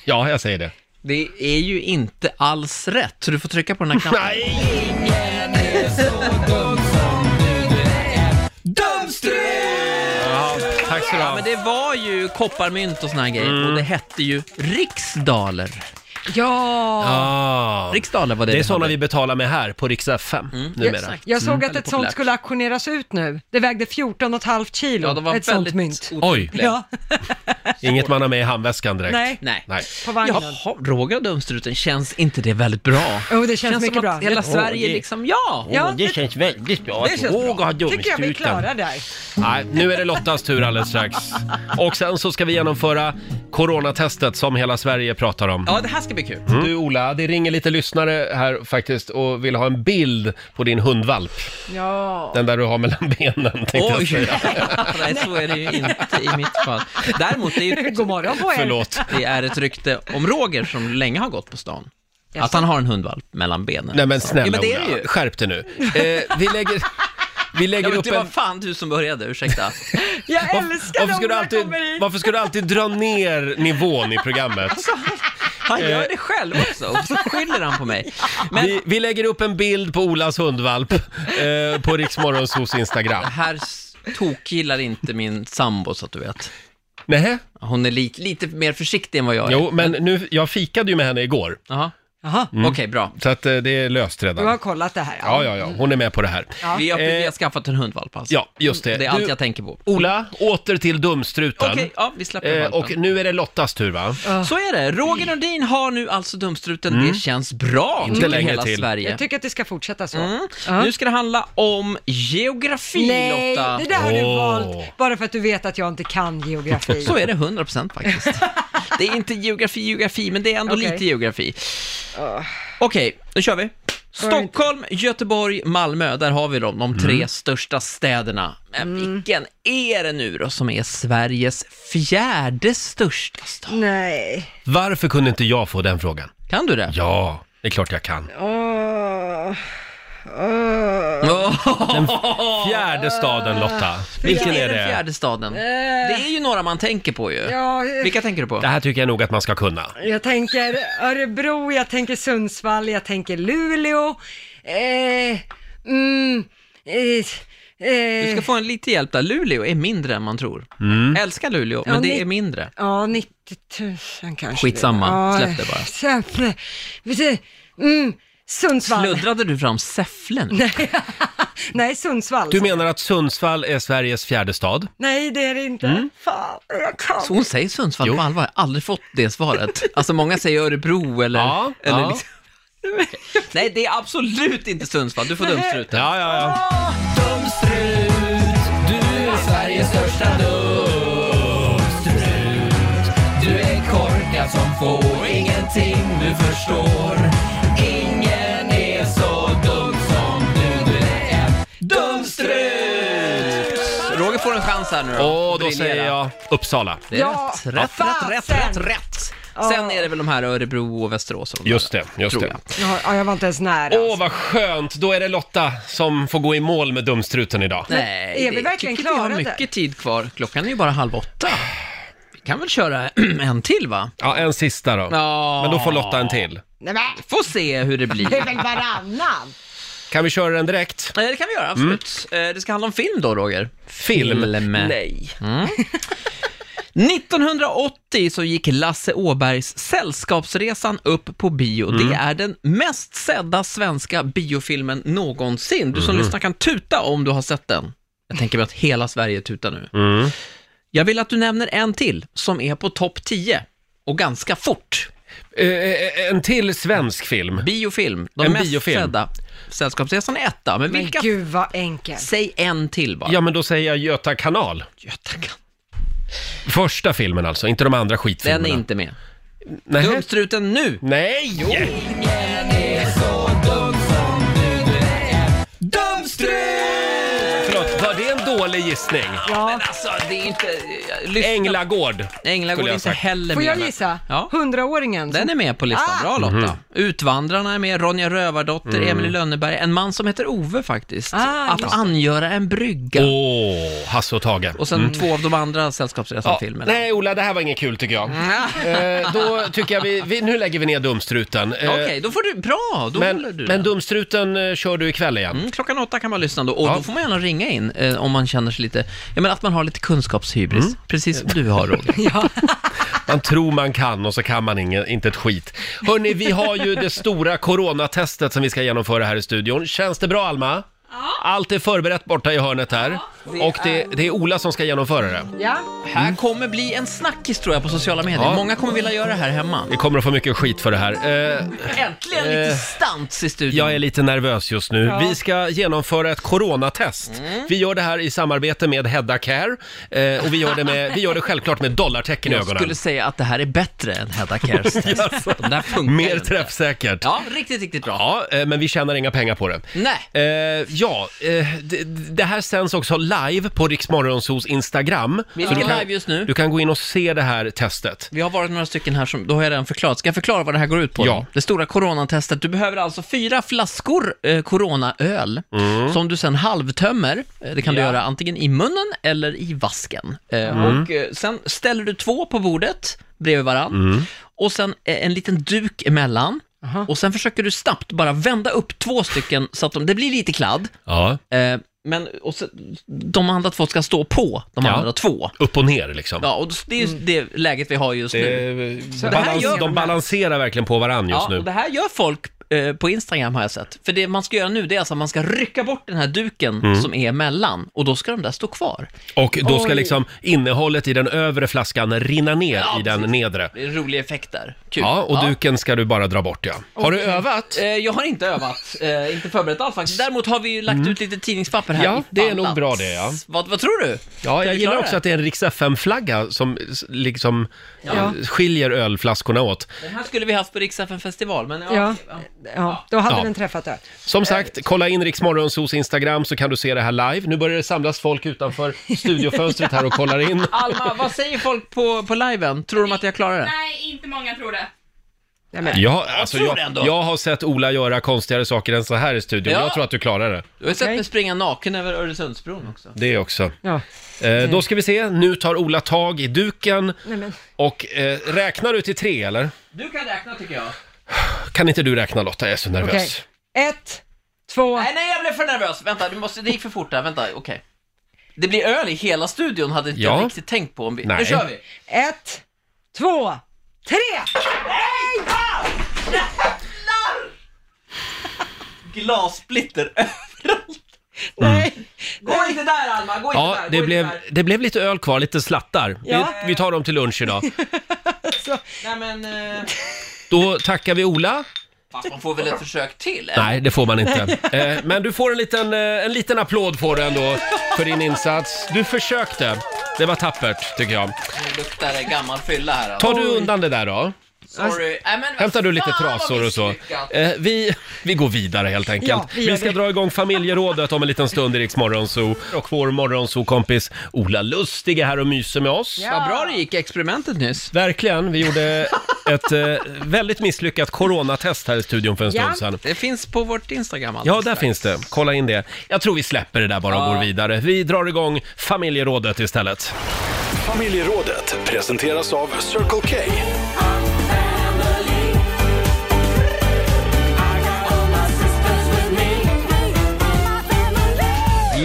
S1: Ja, jag säger det.
S16: Det är ju inte alls rätt, så du får trycka på den här knappen.
S1: Nej! Ja, tack så du
S16: Ja,
S1: ha.
S16: men det var ju kopparmynt och såna här grejer och det hette ju riksdaler.
S2: Ja.
S1: Ah.
S16: Riksdaler var det
S1: Det är
S16: vi
S1: sådana
S16: hade. Mm.
S1: vi betalar med här på Rix FM numera.
S2: Jag, jag såg att ett sånt skulle auktioneras ut nu. Det vägde 14,5 kilo,
S16: Ja, de var
S2: ett sånt
S16: väldigt
S2: mynt.
S1: Oj,
S2: Ja,
S1: inget man har med i handväskan direkt.
S2: nej.
S16: Nej.
S1: Nej.
S2: På vagnen.
S16: Jaha, Roger och Dumstruten, känns inte det väldigt bra?
S2: Jo, det känns mycket
S16: som
S2: bra.
S16: att hela
S2: Det-
S16: Sverige
S1: det-
S16: liksom, ja!
S2: Ja, det-
S1: känns väldigt bra
S16: det känns bra.
S1: har
S2: tycker jag vi är klara där.
S1: Nej, nu är det Lottas tur alldeles strax. Och sen så ska vi genomföra coronatestet som hela Sverige pratar om. Mm.
S16: Ja, det här ska bli kul.
S1: Du Ola, det ringer lite lyssnare här faktiskt och vill ha en bild på din hundvalp.
S2: Ja.
S1: Den där du har mellan benen tänkte jag
S16: Oj.
S1: säga.
S16: Nej, så är det ju inte i mitt fall. Däremot, det är, God
S2: morgon på er.
S1: Förlåt.
S16: det är ett rykte om Roger som länge har gått på stan.
S1: Jaså?
S16: Att han har en hundvalp mellan benen.
S1: Nej men snälla
S16: ja, men det är det
S1: Ola,
S16: ju.
S1: skärp dig nu. Eh, vi lägger, vi lägger
S16: Ja, men
S1: upp
S16: det
S1: en...
S16: var fan du som började, ursäkta.
S2: Jag
S1: varför ska, du alltid, varför ska du alltid dra ner nivån i programmet?
S16: Han gör det själv också, och så skyller han på mig.
S1: Vi, vi lägger upp en bild på Olas hundvalp eh, på Riksmorgonsos Instagram.
S16: Här s- tokgillar inte min sambo så att du vet.
S1: Nej.
S16: Hon är lite, lite mer försiktig än vad jag är.
S1: Jo, men nu, jag fikade ju med henne igår.
S16: Jaha.
S2: Jaha.
S1: Mm.
S16: Okej, bra.
S1: Så att eh, det är löst
S2: Du har
S1: redan.
S2: kollat det här?
S1: Ja, ja, ja, hon är med på det här.
S2: Ja.
S16: Vi har, vi
S1: Eh,
S16: har skaffat en hundvalp alltså.
S1: Ja, just det.
S16: Det är allt
S1: Du-
S16: jag tänker på.
S1: Ola, åter till dumstruten.
S16: Okej, ja, vi släpper
S1: eh,
S16: valpen.
S1: Och nu är det Lottas tur va?
S16: Så är det. Roger Nordin har nu alltså dumstruten.
S1: Mm.
S16: Det känns bra
S1: Inte
S16: för
S1: längre
S16: hela
S1: till.
S16: Sverige.
S2: Jag tycker att det ska fortsätta så.
S16: Mm.
S2: Ja.
S16: Nu ska det handla om geografi,
S2: Nej,
S16: Lotta.
S2: det där har du valt bara för att du vet att jag inte kan geografi.
S16: Så är det 100% faktiskt. det är inte geografi, geografi, men det är ändå
S2: Okej.
S16: lite geografi. Okej, nu kör vi. Stockholm, Göteborg, Malmö, där har vi dem, de tre
S11: Mm.
S16: största städerna. Men vilken är det nu då som är Sveriges fjärde största stad?
S2: Nej.
S1: Varför kunde inte jag få den frågan?
S16: Kan du det?
S1: Ja, det är klart jag kan.
S2: Åh.
S1: Den fjärde staden Lotta, vilken är
S16: den
S1: det?
S16: fjärde staden? Det är ju några man tänker på ju.
S2: Ja, eh.
S16: Vilka tänker du på?
S1: Det här tycker jag nog att man ska kunna.
S2: Jag tänker Örebro, jag tänker Sundsvall, jag tänker Luleå. Eh, mm, eh,
S16: Du ska
S2: eh,
S16: få en lite hjälp där. Luleå är mindre än man tror.
S1: Mm.
S16: Jag älskar Luleå,
S2: Ja,
S16: men det
S2: ni-
S16: är mindre.
S2: ja, 90 000 kanske.
S16: Skitsamma,
S2: Ja,
S16: släpp det bara.
S2: Säffle. Mm, Sundsvall.
S16: Sluddrade du fram Säffle nu?
S2: Nej, nej, Sundsvall.
S1: Du menar att Sundsvall är Sveriges fjärde stad?
S2: Nej, det är det inte.
S16: Mm.
S2: Fan, jag kan.
S16: Så hon säger Sundsvall på allvar? Jag har aldrig fått det svaret. Alltså många säger Örebro eller... eller
S1: ja.
S16: Liksom. Nej, det är absolut inte Sundsvall. Du får dumstruten.
S1: Ja, ja, ja.
S16: Dumstrut, du är Sveriges största dumstrut. Du är korkad som får ingenting du förstår. Ingen är så dum som du, du är en dumstrut. Roger får en chans här nu då.
S1: Åh,
S16: att
S1: då
S16: briljera.
S1: säger jag Uppsala.
S16: Det är
S2: Ja,
S16: rätt, rätt,
S2: vad
S16: rätt, rätt,
S2: fasen.
S16: rätt, rätt. Sen är det väl de här Örebro och Västerås och de
S1: Just
S16: där,
S1: det, just det.
S16: tror jag.
S2: Ja, ja, jag var inte ens nära.
S16: Alltså.
S1: Åh, vad skönt! Då är det Lotta som får gå i mål med dumstruten idag.
S16: Nej,
S2: är vi
S16: det-
S2: verkligen
S16: tycker vi har
S2: klara
S16: mycket
S2: där?
S16: tid kvar. Klockan är ju bara halv åtta. Vi kan väl köra en till va?
S1: Ja, en sista då.
S16: Ja.
S1: Men då får Lotta en till.
S2: Nej, men,
S16: Får se hur det blir.
S2: det
S16: Eh,
S2: är väl varannan?
S1: Kan vi köra den direkt?
S16: Det kan vi
S1: Mm.
S16: göra, absolut. Eh, Det ska handla om film då, Roger.
S1: Film?
S16: Nej. Mm. 1980 så gick Lasse Åbergs Sällskapsresan upp på bio. Det
S1: Mm.
S16: är den mest sedda svenska biofilmen någonsin. Du som
S1: Mm.
S16: lyssnar kan tuta om du har sett den. Jag tänker mig att hela Sverige tutar nu. Jag vill att du nämner en till som är på topp 10 och ganska fort.
S1: Eh, en till svensk film?
S16: Biofilm, de
S1: En
S16: mest
S1: biofilm.
S16: sedda. Sällskapsresan är etta, men,
S2: Men
S16: vilka?
S2: gud vad enkelt.
S16: Säg en till bara.
S1: Ja, men då säger jag Göta kanal.
S16: Göta kan-
S1: Första filmen alltså, inte de andra
S16: Den
S1: skitfilmerna.
S16: är inte med.
S1: Nej.
S16: Dumstruten nu!
S1: Nej! Förlåt, var det en dålig gissning?
S2: Ja.
S16: Men alltså, det är inte... Lyssna.
S1: Änglagård.
S16: Änglagård
S1: skulle
S16: är
S1: jag
S16: inte
S1: sagt.
S16: heller
S2: Får
S16: med.
S2: jag
S16: men-
S2: gissa?
S16: Ja.
S2: Hundraåringen. Ah! Mm.
S16: Den är med på listan. Bra Lotta. Utvandrarna är med, Ronja Rövardotter, Emily Emil i Lönneberg, en man som heter Ove faktiskt.
S2: Ah,
S16: att
S2: just det.
S16: angöra en brygga.
S1: Åh, Hasse och Tage. Mm.
S16: Och sen två av de andra Sällskapsresan-filmerna.
S1: Nej, Ola, det här var inget kul tycker jag. eh, då tycker jag vi, vi, nu lägger vi ner dumstruten. Eh,
S16: Mm. Okej, då får du, bra, då håller
S1: men,
S16: du
S1: men
S16: den.
S1: dumstruten eh, kör du ikväll igen.
S16: Mm, klockan åtta kan man lyssna då, och
S1: Ja.
S16: då får man gärna ringa in eh, om man känner sig lite, ja men att man har lite kunskapshybris, precis som du har Roger.
S1: Man tror man kan och så kan man ingen, inte ett skit. Hörni, vi har ju det stora coronatestet som vi ska genomföra här i studion. Känns det bra Alma? Allt är förberett borta i hörnet här.
S16: det
S1: Och det,
S16: är-
S1: det är Ola som ska genomföra det.
S2: Ja.
S16: Här kommer bli en snackis tror jag på sociala medier.
S1: Ja.
S16: Många kommer vilja göra det här hemma.
S1: Vi kommer att få mycket skit för det här. Eh,
S16: Äntligen lite
S1: Eh.
S16: stans i studion.
S1: jag är lite nervös just nu.
S16: Ja. Mm.
S1: Vi ska genomföra ett coronatest. Vi gör det här i samarbete med Hedda Care. Eh, och vi gör, det med, vi gör det självklart med dollartecken i
S16: Jag
S1: ögonen.
S16: skulle säga att det här är bättre än Hedda Cares test. De där funkar ju
S1: Mer
S16: inte.
S1: träffsäkert.
S16: Ja, riktigt, riktigt bra.
S1: Ja, eh, men vi tjänar inga pengar på det.
S16: Nej.
S1: Eh, ja, eh, det, det här sänds också live på Riksmorgonsos Instagram.
S16: Vi
S1: Så du
S16: är
S1: kan-
S16: live just nu.
S1: Du kan gå in och se det här testet.
S16: Vi har varit några stycken här som, då har jag redan förklarat. Ska jag förklara vad det här går ut på?
S1: Ja.
S16: då? Det stora coronatestet. Du behöver alltså fyra flaskor eh, coronaöl som du sen halvtömmer. Eh, Det kan du
S1: Mm. Ja.
S16: göra antingen i munnen eller i vasken. Eh,
S1: Mm.
S16: Och eh, sen ställer du två på bordet bredvid varann
S1: Mm.
S16: och sen eh, en liten duk emellan. Och sen försöker du snabbt bara vända upp två stycken så att de, det blir lite kladd.
S1: Ja.
S16: Eh, men och så, de andra två ska stå på de
S1: Ja.
S16: andra två.
S1: Upp och ner liksom.
S16: Ja, och det är just det läget vi har just nu. Så det här
S1: Balans,
S16: gör-
S1: de balanserar verkligen på varandra just
S16: ja,
S1: nu.
S16: och det här gör folk eh, på Instagram har jag sett. För det man ska göra nu, det är alltså att man ska rycka bort den här duken
S1: Mm.
S16: som är emellan och då ska de där stå kvar.
S1: Och då ska
S16: Oj.
S1: liksom innehållet i den övre flaskan rinna ner i den nedre.
S16: Det är en rolig effekt där. Kul.
S1: Ja, och duken ska du bara dra bort ja. Har du övat?
S16: Eh, jag har inte övat, eh, inte förberett alls faktiskt. Däremot har vi ju lagt ut lite tidningspapper här
S1: Mm. Ja,
S16: i
S1: det är
S16: fallat.
S1: nog bra det, ja.
S16: Vad, vad tror du?
S1: Ja,
S16: Ska
S1: jag
S16: vi
S1: gillar
S16: klara
S1: också att det är en Rix FM-flagga som s- liksom
S16: Ja.
S1: eh, skiljer ölflaskorna åt.
S16: Den här skulle vi haft på Riksdagen festival, men ja.
S2: Ja.
S16: okej, ja.
S2: Ja, då hade
S1: Ja.
S2: den träffat det.
S1: Som sagt, kolla in Rix Morgonzos Instagram så kan du se det här live. Nu börjar det samlas folk utanför studiofönstret här och kollar in.
S16: Alma, vad säger folk på, på liven? Tror de att jag klarar det?
S7: Nej, inte många tror det.
S1: Jag, alltså,
S16: tror
S1: jag,
S16: det ändå.
S1: jag har sett Ola göra konstigare saker än så här i studion.
S16: Ja.
S1: Jag tror att du klarar det.
S16: Du har ju sett mig springa naken över Öresundsbron också.
S1: Det också.
S16: Mm.
S1: Eh, då ska vi se, nu tar Ola tag i duken och eh, räknar du till tre eller?
S16: Du kan räkna tycker jag.
S1: Kan inte du räkna Lotta? Jag är så nervös.
S16: Okej.
S2: Ett, två...
S16: Nej, nej, jag blev för nervös. Vänta, du måste, det gick för fort där. Vänta, okej. Det blir öl i hela studion, hade inte
S1: Ja.
S16: jag riktigt tänkt på. Om vi...
S1: Nej.
S16: Nu kör vi!
S2: Ett, två, tre!
S16: Mm. Glassplitter överallt. Nej, gå inte där Alma, gå inte
S1: Mm. Ja,
S16: där.
S1: det
S16: gå
S1: blev,
S16: inte där.
S1: det blev lite öl kvar, lite slattar.
S16: Ja.
S1: Vi, vi tar dem till lunch idag.
S16: Nej men, eh,
S1: Då tackar vi Ola.
S16: fast man får väl ett försök till? eller?
S1: Nej, det får man inte. Eh, Men du får en liten, eh, en liten applåd får du ändå för din insats. Du försökte. Det var tappert, tycker jag.
S16: Nu luktar det gammal fylla här. alltså.
S1: Tar du undan det där då?
S16: Sorry. Nej, men,
S1: Alltså, Hämtar du lite
S16: fan, vad
S1: trasor och så?
S16: misslyckat.
S1: Eh, vi, vi går vidare helt enkelt.
S16: Ja, vi
S1: vi,
S16: gör
S1: ska dra igång familjerådet om en liten stund i Riks Morgonzoo. Och vår Morgonzoo-kompis Ola Lustig är här och myser med oss.
S16: Vad bra det gick, experimentet nyss.
S1: Verkligen, vi gjorde ett eh, väldigt misslyckat coronatest här i studion för en stund sedan.
S16: det finns på vårt Instagram.
S1: Ja, där finns det. Kolla in det. Jag tror vi släpper det där bara och
S16: Ja.
S1: går vidare. Vi drar igång familjerådet istället.
S13: Familjerådet presenteras av Circle K.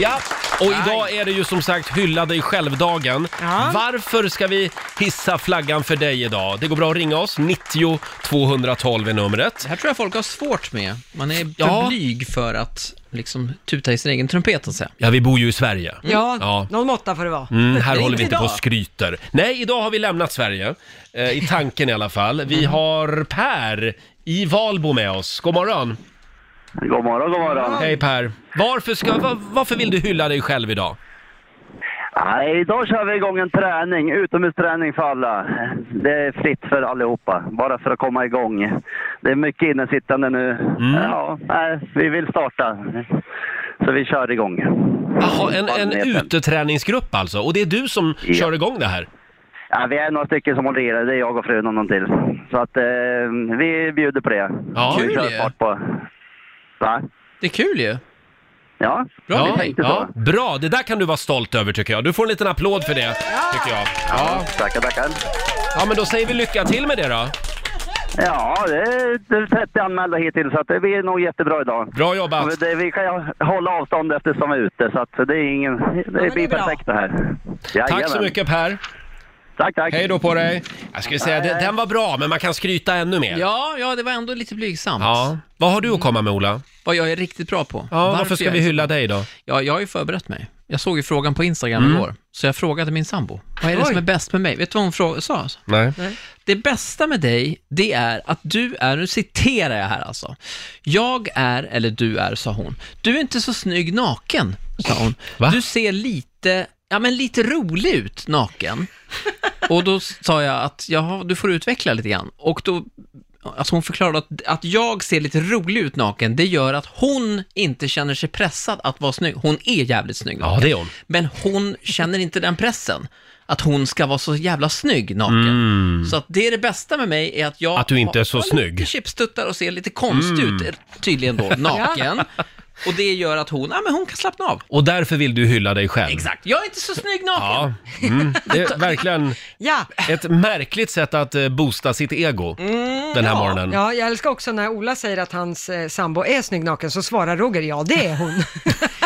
S1: Ja, och idag är det ju som sagt hylla dig själv-dagen. Varför ska vi hissa flaggan för dig idag? Det går bra att ringa oss, 90 212 är numret.
S16: Det här tror jag folk har svårt med. Man är för
S1: Ja.
S16: blyg för att liksom tuta i sin egen trumpet, så att säga.
S1: Ja, vi bor ju i Sverige.
S2: Ja,
S1: ja.
S2: någon måtta får det vara.
S1: Mm, här håller vi inte på och
S2: Mm. idag.
S1: skryter. Nej, idag har vi lämnat Sverige. Eh, I tanken i alla fall. Vi har Per i Valbo med oss. God morgon!
S17: God morgon, god morgon.
S1: Hej Per! Varför, ska, va- varför vill du hylla dig själv idag?
S17: Nej, idag kör vi igång en träning, utomhusträning för alla. Det är fritt för allihopa, bara för att komma igång. Det är mycket innesittande nu.
S1: Mm.
S17: Ja, nej, vi vill starta. Så vi kör igång.
S1: Jaha, en, en uteträningsgrupp alltså? Och det är du som
S17: Ja.
S1: kör igång det här?
S17: Ja, vi är några stycken som håller i det, det är jag och frun och någon till. Så att eh, vi bjuder på det.
S1: Ja.
S17: vi
S1: Kul
S17: kör
S1: ju.
S17: fart på. Va?
S16: Det är kul ju.
S17: Ja, vi tänkte så.
S1: Bra, det där kan du vara stolt över tycker jag. Du får en liten applåd för det, tycker jag. Ja.
S17: Tackar, tackar.
S1: Ja, men då säger vi lycka till med det då.
S17: Ja, det är det är 30 anmälda hittills, så att det blir nog jättebra idag.
S1: Bra jobbat!
S17: Ja, men det, vi kan hålla avstånd eftersom vi är ute, så att det, är ingen, det blir perfekt det här.
S1: Tack så mycket Per!
S17: Tack, tack.
S1: Hej då på dig. Jag skulle säga, den, den var bra, men man kan skryta ännu mer.
S16: Ja, ja, det var ändå lite blygsamt.
S1: Ja. Vad har du att komma med, Ola?
S16: Vad jag är riktigt bra på.
S1: Ja, varför ska
S16: jag
S1: vi
S16: är så
S1: hylla
S16: bra.
S1: dig då?
S16: Ja, jag har ju förberett mig. Jag såg ju frågan på Instagram
S1: Mm.
S16: igår, så jag frågade min sambo. Vad är det
S1: Oj.
S16: som är bäst med mig? Vet du vad hon frå- sa? alltså?
S1: Nej.
S16: Det bästa med dig, det är att du är, nu citerar jag här alltså. Jag är, eller du är, sa hon. Du är inte så snygg naken, sa hon. Du ser lite, ja men lite rolig ut naken. Och då sa jag att, jaha, du får utveckla lite grann. Och då, alltså hon förklarade att, att jag ser lite rolig ut naken, det gör att hon inte känner sig pressad att vara snygg. Hon är jävligt snygg naken.
S1: Ja, det är hon.
S16: Men hon känner inte den pressen. Att hon ska vara så jävla snygg naken.
S1: Mm.
S16: Så att det är det bästa med mig är att jag
S1: Att du inte
S16: har-
S1: är så
S16: har
S1: snygg.
S16: lite chipstuttar och ser lite konstig
S1: Mm.
S16: ut eh, tydligen då, naken. Och det gör att hon, ja men hon kan slappna av.
S1: Och därför vill du hylla dig själv.
S16: Exakt, jag är inte så snygg naken.
S1: Ja, mm. det är verkligen
S2: Ja.
S1: ett märkligt sätt att eh, boosta sitt ego
S16: Mm,
S1: den här
S2: ja.
S1: morgonen.
S2: Ja, jag älskar också när Ola säger att hans eh, sambo är snygg naken, så svarar Roger ja, det är hon.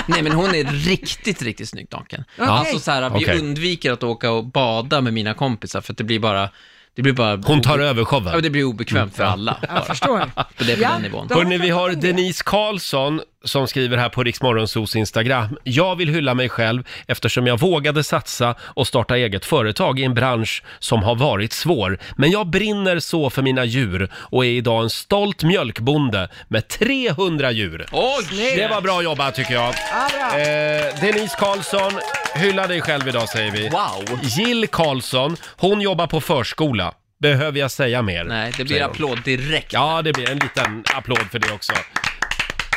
S16: Nej men hon är riktigt, riktigt snygg naken.
S2: Okej.
S16: Alltså så här, vi
S1: Okej.
S16: undviker att åka och bada med mina kompisar för att det blir bara, det blir bara...
S1: Hon tar över showen. Mm.
S16: Ja, det blir obekvämt för alla. Jag
S2: förstår.
S16: På det är på
S2: Ja,
S16: den nivån.
S1: Hörrni, vi har Denise Karlsson som skriver här på Riksmorgonsos Instagram. Jag vill hylla mig själv eftersom jag vågade satsa och starta eget företag i en bransch som har varit svår. Men jag brinner så för mina djur och är idag en stolt mjölkbonde med 300 djur.
S16: Oj!
S1: Det var bra jobbat tycker jag. Eh, Denise Karlsson, hylla dig själv idag säger vi.
S16: Wow!
S1: Jill Karlsson, hon jobbar på förskola. Behöver jag säga mer?
S16: Nej, det blir
S1: säger hon.
S16: applåd direkt.
S1: Ja, det blir en liten applåd för det också.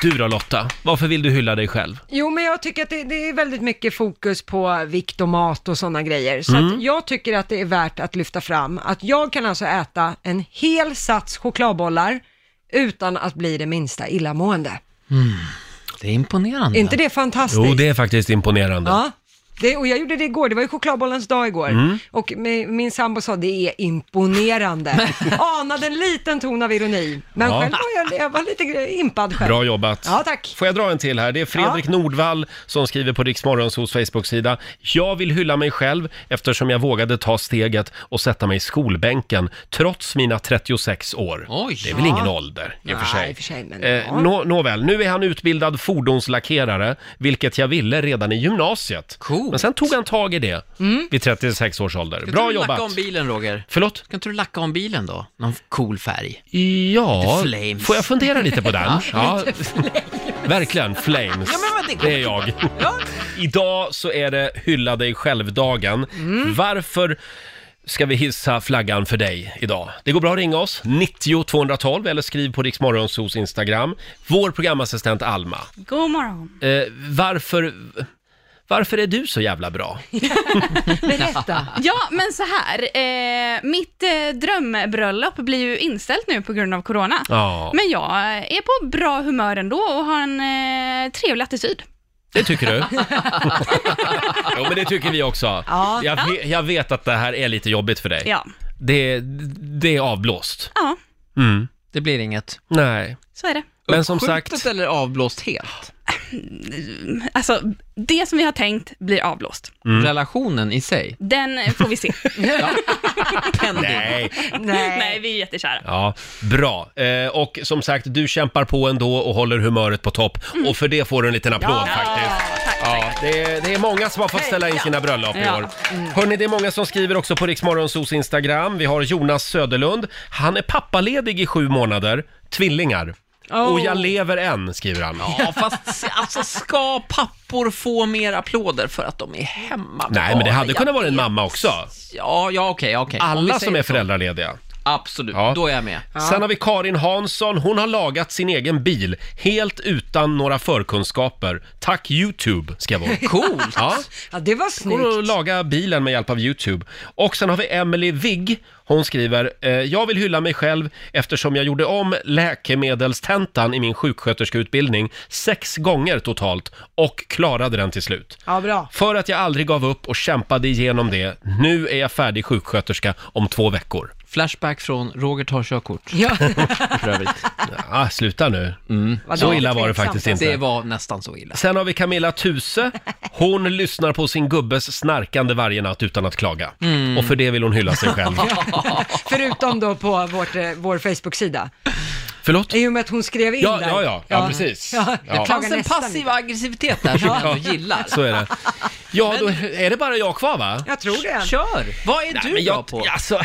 S1: Du då Lotta, varför vill du hylla dig själv?
S2: Jo, men jag tycker att det, det är väldigt mycket fokus på vikt och mat och sådana grejer. Så
S1: Mm.
S2: att jag tycker att det är värt att lyfta fram att jag kan alltså äta en hel sats chokladbollar utan att bli det minsta illamående.
S1: Mm.
S16: Det är imponerande.
S2: Är inte det fantastiskt?
S1: Jo, det är faktiskt imponerande.
S2: Ja. Det, och jag gjorde det igår, det var ju chokladbollens dag igår.
S1: Mm.
S2: Och mi- min sambo sa det är imponerande. Anade en liten ton av ironi. Men
S1: Ja.
S2: själv var jag, jag var lite impad själv.
S1: Bra jobbat.
S2: Ja, tack.
S1: Får jag dra en till här? Det är Fredrik Nordvall som skriver på Riksmorgons hos Facebook-sida. Jag vill hylla mig själv eftersom jag vågade ta steget och sätta mig i skolbänken trots mina 36 år. det är väl
S2: Ja.
S1: ingen ålder i och för sig.
S2: Nej, i och för sig, men
S1: Eh,
S2: ja.
S1: nå, nåväl, nu är han utbildad fordonslackerare, vilket jag ville redan i gymnasiet. Men sen tog han tag i det
S2: Mm.
S1: vid 36 års ålder.
S16: Kan
S1: Bra
S16: inte du lacka
S1: jobbat!
S16: om bilen, Roger?
S1: Förlåt?
S16: Kan inte du lacka om bilen då? Någon cool färg?
S1: Ja,
S16: Lite flames.
S1: får jag fundera lite på den?
S16: Ja.
S1: ja.
S16: Lite
S1: Verkligen, flames.
S16: Ja, men vad det-
S1: det är jag. Idag så är det hylla dig själv-dagen.
S16: Mm.
S1: Varför ska vi hissa flaggan för dig idag? Det går bra att ringa oss, 90 212 eller skriv på Riksmorgonsos Instagram. Vår programassistent Alma,
S7: God morgon.
S1: eh, varför, varför är du så jävla bra?
S2: Berätta.
S7: Ja, men så här. Eh, mitt eh, drömbröllop blir ju inställt nu på grund av corona.
S1: Ja.
S7: Men jag är på bra humör ändå och har en eh, trevlig attityd.
S1: Det tycker du? jo, men det tycker vi också.
S7: Ja.
S1: Jag, ve- jag vet att det här är lite jobbigt för dig.
S7: Ja.
S1: Det, det är avblåst.
S7: Ja,
S1: Mm.
S16: Det blir inget.
S1: Nej.
S7: så är det.
S1: Men som sagt...
S16: eller avblåst helt?
S7: Alltså, det som vi har tänkt blir avblåst.
S1: Mm.
S16: Relationen i sig?
S7: Den får vi se.
S1: Nej.
S7: Nej. vi är jättekära.
S1: Ja, bra. Eh, och som sagt, du kämpar på ändå och håller humöret på topp.
S16: Mm.
S1: Och för det får du en liten applåd faktiskt. ja, det, är, det är många som har fått ställa in sina bröllop i
S13: Ja.
S1: år.
S16: Mm.
S1: Hörni, det är många som skriver också på Riksmorgonsos Instagram. Vi har Jonas Söderlund. Han är pappaledig i sju månader. Tvillingar.
S16: Oh.
S1: Och jag lever än, skriver han.
S16: Ja, fast alltså ska pappor få mer applåder för att de är hemma?
S1: Nej, men det hade
S16: Ja,
S1: kunnat vara en mamma också.
S16: Ja, ja okej, okej. Om vi
S1: Alla
S16: säger
S1: som är
S16: så.
S1: föräldralediga.
S16: Absolut,
S1: Ja.
S16: Typ. då är jag med.
S1: Sen har vi Karin Hansson. Hon har lagat sin egen bil helt utan några förkunskaper. Tack YouTube, skrev hon.
S16: Coolt.
S1: Ja.
S2: Ja, det var
S1: Går
S2: snyggt.
S1: att laga bilen med hjälp av YouTube. Och sen har vi Emily Wigg. Hon skriver, eh, jag vill hylla mig själv eftersom jag gjorde om läkemedelstentan i min sjuksköterskeutbildning sex gånger totalt och klarade den till slut.
S2: Ja, bra.
S1: För att jag aldrig gav upp och kämpade igenom det, nu är jag färdig sjuksköterska om två veckor.
S16: Flashback från Roger tar körkort.
S2: Ja.
S1: Ja, sluta nu. Så illa var det faktiskt inte.
S16: Det var nästan så illa.
S1: Sen har vi Camilla Tuse. Hon lyssnar på sin gubbes snarkande varje natt utan att klaga.
S2: Mm.
S1: Och för det vill hon hylla sig själv.
S2: Förutom då på vårt, eh, vår Facebook-sida.
S1: Förlåt?
S2: I och med att hon skrev in
S1: Ja,
S2: där.
S1: ja, ja, ja, precis.
S2: Ja,
S1: Ja.
S2: jag klagar
S1: Fanns en
S2: nästan
S16: passiv
S2: inte.
S16: aggressivitet där som jag ändå gillar.
S1: Så är det. Ja, då är det bara jag kvar va?
S2: Jag tror det.
S16: Kör! Vad är du
S1: men jag,
S16: bra på?
S1: Alltså,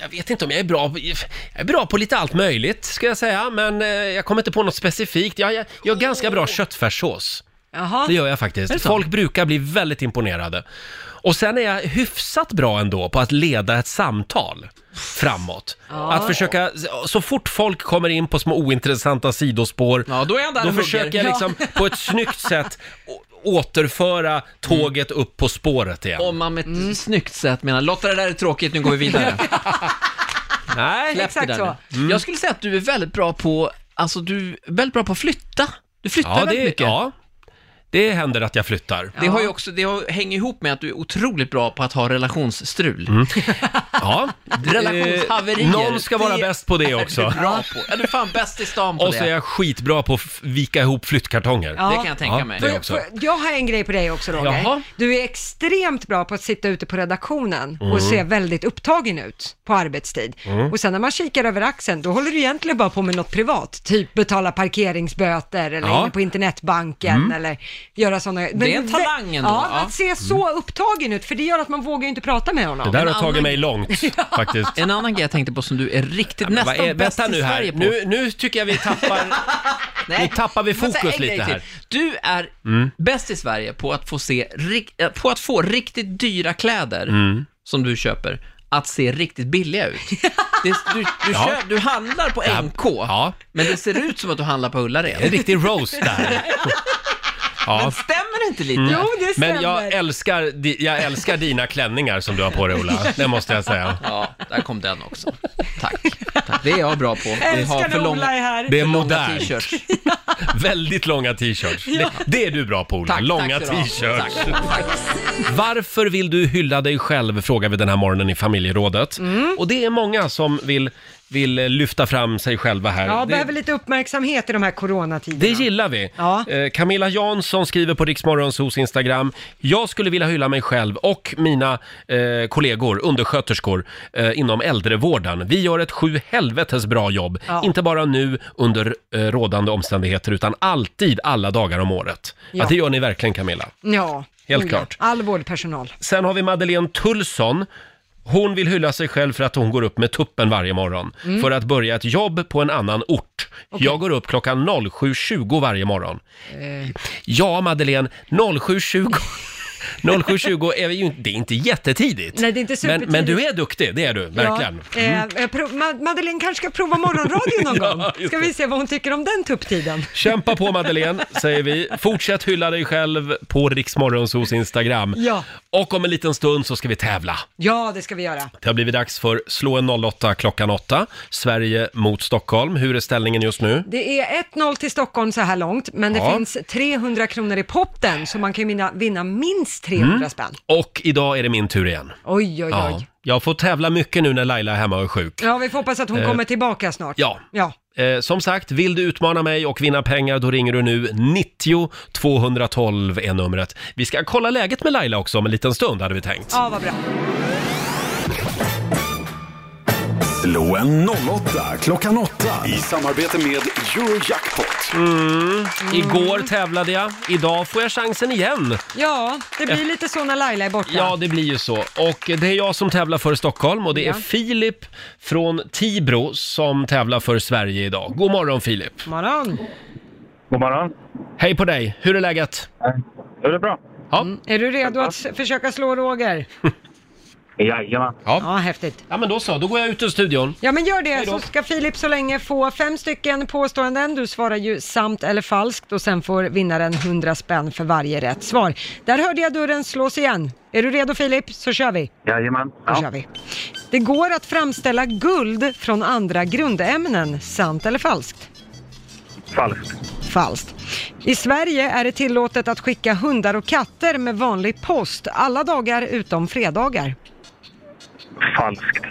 S1: jag vet inte om jag är bra på... Jag är bra på lite allt möjligt, ska jag säga. Men eh, jag kommer inte på något specifikt. Jag, jag, jag har ganska bra köttfärssås.
S2: Jaha.
S1: Det gör jag
S2: Är det
S1: faktiskt.
S2: så?
S1: Folk brukar bli väldigt imponerade. Och sen är jag hyfsat bra ändå på att leda ett samtal framåt.
S16: Ja.
S1: Att försöka, så fort folk kommer in på små ointressanta sidospår,
S16: då är han där och hugger.
S1: försöker jag liksom
S16: Ja.
S1: på ett snyggt sätt å- återföra tåget upp på spåret igen.
S16: Mm. Om man med ett
S1: Mm.
S16: snyggt sätt menar, Lotta det där är tråkigt, nu går vi vidare.
S1: Nej,
S16: Släpp det där nu.
S1: Mm.
S16: Jag skulle säga att du är väldigt bra på, alltså du är väldigt bra på att flytta. Du flyttar
S1: ja,
S16: väldigt
S1: det,
S16: mycket.
S1: ja, det händer att jag flyttar.
S16: Det, har ju också, det har, hänger ihop med att du är otroligt bra på att ha relationsstrul.
S1: Ja.
S16: Relationshaverier.
S1: Eh, Någon ska vara bäst på det också.
S16: Du är bra på. Ja, du är fan bäst i stan på
S1: Och
S16: det.
S1: så är jag skitbra på att f- vika ihop flyttkartonger.
S2: Ja. Det kan jag
S16: tänka
S1: ja,
S16: mig.
S1: Det
S2: Får-
S1: också.
S2: får- Jag har en grej på dig också Roger.
S1: Jaha.
S2: Du är extremt bra på att sitta ute på redaktionen
S1: Mm.
S2: och se väldigt upptagen ut på arbetstid.
S1: Mm.
S2: Och sen när man kikar över axeln, då håller du egentligen bara på med något privat. Typ betala parkeringsböter eller
S1: Ja.
S2: inne på internetbanken
S1: Mm.
S2: eller göra sådana
S16: Det är en talang ändå,
S2: Ja,
S16: ja.
S2: att se så upptagen ut, för det gör att man vågar ju inte prata med honom.
S1: Det där har tagit mig långt faktiskt.
S16: En annan grej jag tänkte på som du är riktigt
S1: men
S16: nästan
S1: vad är-
S16: bäst
S1: vänta
S16: i
S1: nu här.
S16: Sverige på.
S1: Nu- nu tycker jag vi tappar... nu tappar vi
S16: Vänta,
S1: fokus
S16: en grej
S1: lite här.
S16: till.
S1: Mm.
S16: Du är bäst i Sverige på att få se, rik- eh, på att få riktigt dyra kläder
S1: Mm.
S16: som du köper, att se riktigt billiga ut. Det, du, du,
S1: Ja.
S16: köp, du handlar på NK, men det ser ut som att du handlar på Ullared.
S1: Det är en riktig roast där. Ja. Men
S16: stämmer det inte lite?
S1: Mm.
S16: Jo, det stämmer.
S1: Men jag älskar, di- jag älskar dina klänningar som du har på dig, Ola. Det måste jag säga.
S16: Ja, där kom den också. Tack. Tack. Det är jag bra på. Vi har för långa-
S1: Det är
S16: för långa
S1: modernt.
S16: t-shirts.
S1: Väldigt långa t-shirts.
S16: Ja.
S1: Det, det är du bra på, Ola.
S16: Tack,
S1: långa
S16: tack ska du ha.
S1: t-shirts.
S16: Tack, tack.
S1: Varför vill du hylla dig själv? Frågar vi den här morgonen i familjerådet.
S16: Mm.
S1: Och det är många som vill, vill eh, lyfta fram sig själva här.
S2: Ja,
S1: Det-
S2: behöver lite uppmärksamhet i de här coronatiderna.
S1: Det gillar vi. Eh, Camilla Jansson skriver på Riksmorgonsos Instagram. Jag skulle vilja hylla mig själv och mina eh, kollegor, undersköterskor, eh, inom äldrevården. Vi gör ett sju helvetes bra jobb.
S13: Ja.
S1: Inte bara nu under eh, rådande omständigheter, utan alltid alla dagar om året.
S2: Ja.
S1: Att det gör ni verkligen, Camilla.
S2: Ja,
S1: Helt
S2: Oh ja.
S1: klart.
S2: All vårdpersonal.
S1: Sen har vi Madeleine Tulsson. Hon vill hylla sig själv för att hon går upp med tuppen varje morgon
S13: Mm.
S1: för att börja ett jobb på en annan ort.
S13: Okej.
S1: Jag går upp klockan 07.20 varje morgon.
S2: Eh.
S1: Ja, Madeleine, 07.20. 07.20 är ju inte, det är inte jättetidigt.
S2: Nej, det är inte
S1: men, men
S2: supertidigt.
S1: du är duktig, det är du, verkligen. Mm.
S2: Ja, eh, jag prov- Ma- Madeleine kanske ska prova morgonradio någon
S1: Ja,
S2: gång?
S1: just
S2: Ska
S1: det.
S2: vi se vad hon tycker om den tupptiden?
S1: Kämpa på Madeleine, säger vi. Fortsätt hylla dig själv på Riksmorgonsos Instagram.
S2: Ja.
S1: Och om en liten stund så ska vi tävla.
S2: Ja, det ska vi göra.
S1: Det har blivit dags för Slå en 08 klockan 8. Sverige mot Stockholm. Hur är ställningen just nu?
S2: Det är 1-0 till Stockholm så här långt, men det
S1: Ja.
S2: finns 300 kronor i potten, så man kan ju vinna, vinna minst 300
S1: Mm.
S2: spänn.
S1: Och idag är det min tur igen.
S2: Oj, oj, oj.
S1: jag får tävla mycket nu när Laila är hemma och är sjuk.
S2: Ja, vi får hoppas att hon
S1: Eh.
S2: kommer tillbaka snart.
S1: Ja.
S2: Ja.
S1: Eh, som sagt, vill du utmana mig och vinna pengar då ringer du nu 90 212 är numret. Vi ska kolla läget med Laila också om en liten stund hade vi tänkt.
S2: ja, vad bra.
S13: Slå en 08 klockan 8 i samarbete med Eurojackpot.
S1: Mm. Igår tävlade jag, idag får jag chansen igen.
S2: Ja, det blir lite så när Laila är borta.
S1: Ja, det blir ju så. Och det är jag som tävlar för Stockholm och det är
S2: Ja.
S1: Filip från Tibro som tävlar för Sverige idag. God morgon Filip!
S2: morgon.
S1: God morgon! Hej på dig! Hur är läget?
S18: Det är bra.
S1: Ja.
S2: Är du redo att s- försöka slå Roger?
S18: Jajamän.
S1: Ja.
S2: ja, häftigt.
S1: Ja, men då så. Då går jag ut ur studion.
S2: Ja men gör det så ska Filip så länge få fem stycken påståenden. Du svarar ju sant eller falskt och sen får vinnaren 100 spänn för varje rätt svar. Där hörde jag dörren slås igen. Är du redo Filip så kör vi.
S18: Jajamän.
S2: Då kör vi. Det går att framställa guld från andra grundämnen. Sant eller falskt?
S18: Falskt.
S2: Falskt. I Sverige är det tillåtet att skicka hundar och katter med vanlig post alla dagar utom fredagar.
S18: Falskt.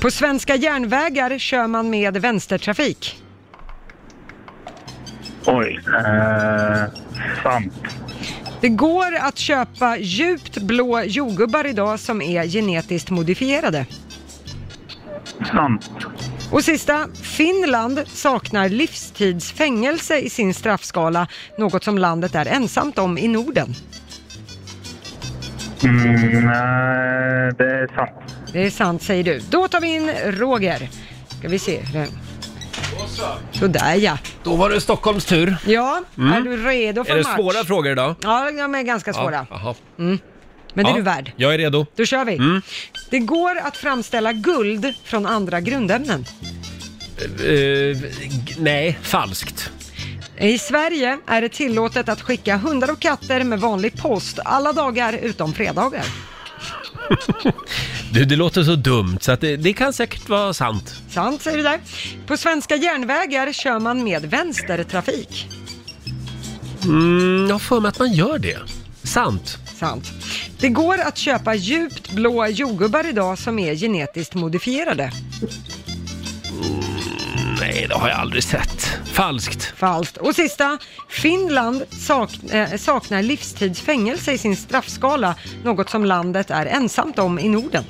S2: På svenska järnvägar kör man med vänstertrafik.
S18: Oj. Eh, sant.
S2: Det går att köpa djupt blå jordgubbar idag som är genetiskt modifierade.
S18: Sant.
S2: Och sista, Finland saknar livstidsfängelse i sin straffskala, något som landet är ensamt om i Norden.
S18: Mm, eh, det är sant.
S2: Det är sant säger du. Då tar vi in Roger. Ska vi se. Sådär ja.
S1: Då var det Stockholms tur.
S2: Ja,
S1: Mm.
S2: är du redo för
S1: Är det
S2: match?
S1: svåra frågor idag?
S2: Ja, de är ganska svåra.
S1: Ja, jaha.
S2: Mm. Men det är
S1: Ja,
S2: du värd.
S1: Jag är redo.
S2: Då kör vi.
S1: Mm.
S2: Det går att framställa guld från andra grundämnen.
S1: Eh, g- nej, falskt.
S2: I Sverige är det tillåtet att skicka hundar och katter med vanlig post alla dagar utom fredagar.
S1: Du, det låter så dumt så att det, det kan säkert vara sant.
S2: Sant säger du där. På svenska järnvägar kör man med vänstertrafik.
S1: Mm, jag har för mig att man gör det. Sant.
S2: Sant. Det går att köpa djupt blå jordgubbar idag som är genetiskt modifierade.
S1: Nej, det har jag aldrig sett. Falskt.
S2: Falskt. Och sista, Finland sak, eh, saknar livstidsfängelse i sin straffskala, något som landet är ensamt om i Norden.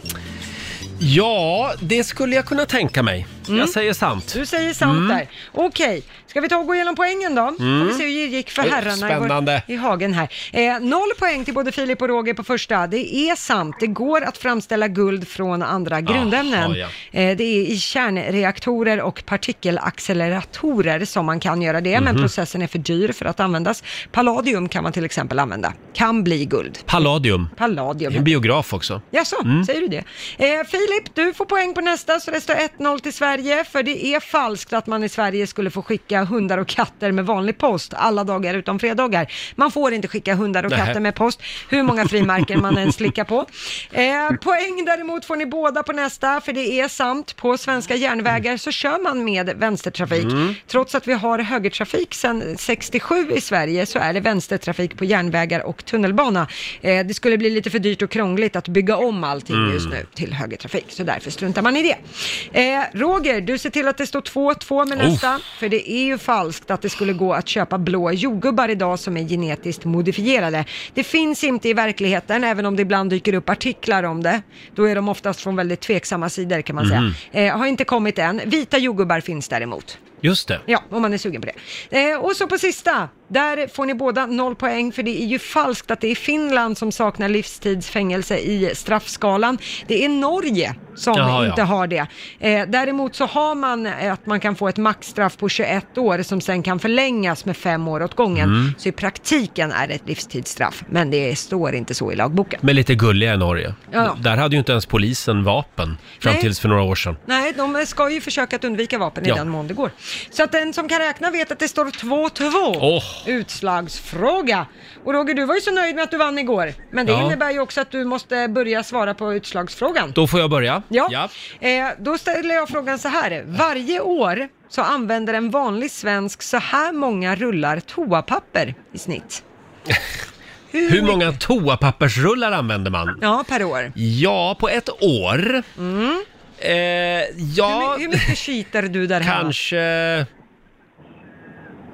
S1: Ja, det skulle jag kunna tänka mig.
S2: Mm.
S1: Jag säger sant.
S2: Du säger sant
S1: Mm.
S2: där. Okej, ska vi ta och gå igenom poängen då?
S1: Mm.
S2: Får vi se hur det gick för
S1: Oh,
S2: herrarna i vår-
S1: spännande.
S2: i hagen här. Eh, noll poäng till både Filip och Roger på första. Det är sant, det går att framställa guld från andra grundämnen.
S4: Aha, ja.
S2: eh, det är i kärnreaktorer och partikelacceleratorer som man kan göra det, men
S1: Mhm.
S2: processen är för dyr för att användas. Palladium kan man till exempel använda, kan bli guld.
S1: Palladium.
S2: Palladium.
S1: Det är en biograf också.
S2: Jaså,
S1: Mm.
S2: säger du det? Eh, Filip, du får poäng på nästa så det står 1-0 till Sverige. För det är falskt att man i Sverige skulle få skicka hundar och katter med vanlig post alla dagar utom fredagar. Man får inte skicka hundar och
S4: Nähä.
S2: katter med post, hur många frimärken man än slickar på. Eh, poäng däremot får ni båda på nästa, för det är sant. På svenska järnvägar så kör man med vänstertrafik.
S4: Mm.
S2: Trots att vi har högertrafik sedan 67 i Sverige så är det vänstertrafik på järnvägar och tunnelbana. Eh, det skulle bli lite för dyrt och krångligt att bygga om allting
S4: Mm.
S2: just nu till högertrafik, så därför struntar man i det. Eh, Roger, du ser till att det står 2-2 med
S4: Oh.
S2: nästa, för det är ju falskt att det skulle gå att köpa blå jordgubbar idag som är genetiskt modifierade. Det finns inte i verkligheten, även om det ibland dyker upp artiklar om det. Då är de oftast från väldigt tveksamma sidor kan man
S1: Mhm.
S2: säga. Eh, har inte kommit än. Vita jordgubbar finns däremot.
S1: Just det.
S2: Ja, om man är sugen på det. Eh, och så på sista, där får ni båda noll poäng för det är ju falskt att det är Finland som saknar livstidsfängelse i straffskalan. Det är Norge som
S4: Jaha, ja.
S2: inte har det. Eh, däremot så har man eh, att man kan få ett maxstraff på 21 år som sen kan förlängas med fem år åt gången.
S1: Mm.
S2: Så i praktiken är det ett livstidsstraff, men det står inte så i lagboken.
S1: Men lite gulliga i Norge.
S2: Ja.
S1: Där hade ju inte ens polisen vapen fram
S2: Nej.
S1: tills för några år sedan.
S2: Nej, de ska ju försöka att undvika vapen i
S1: Ja.
S2: den mån det går. Så att den som kan räkna vet att det står 2-2.
S1: Åh.
S2: Utslagsfråga. Och Roger, du var ju så nöjd med att du vann igår. Men det
S1: Ja.
S2: innebär ju också att du måste börja svara på utslagsfrågan.
S1: Då får jag börja.
S2: Ja. Eh, då ställer jag frågan så här. Varje år så använder en vanlig svensk så här många rullar toapapper i snitt.
S1: Hur många toapappersrullar använder man?
S2: Ja, per år.
S1: Ja, på ett år.
S2: Mm.
S1: Eh, ja,
S2: Hur mycket cheatar du där hemma?
S1: kanske...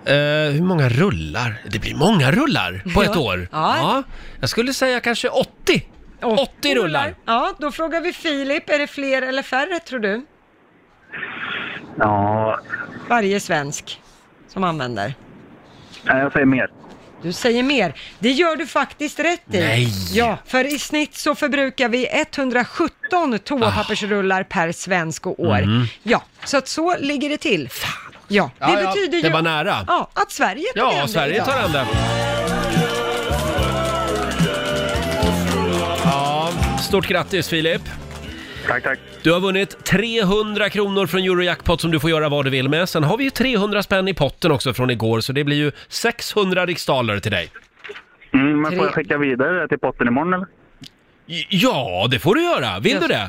S1: Eh, hur många rullar? Det blir många rullar på ett
S2: Ja.
S1: år.
S2: Ja.
S1: Jag skulle säga kanske 80. 80 rullar.
S2: Ja, då frågar vi Filip, är det fler eller färre tror du?
S18: Ja,
S2: Varje svensk som använder.
S18: nej, jag säger mer.
S2: Du säger mer. Det gör du faktiskt rätt i.
S18: Nej.
S2: Ja, för i snitt så förbrukar vi 117 toapappersrullar per svensk och år.
S1: Ah. Mm.
S2: Ja, så att så ligger det till. Ja, det
S1: Ja, ja,
S2: betyder ju...
S1: det var nära.
S2: Ja, att Sverige tog hem
S1: Ja,
S2: det
S1: Sverige
S2: idag.
S1: tar hem det. Ja, stort grattis Filip.
S18: Tack, tack.
S1: Du har vunnit 300 kronor från Eurojackpot som du får göra vad du vill med. Sen har vi ju 300 spänn i potten också från igår, så det blir ju 600 riksdaler till dig.
S18: Mm, men får jag skicka vidare det till potten imorgon eller?
S1: J- Ja, det får du göra. Vill du det?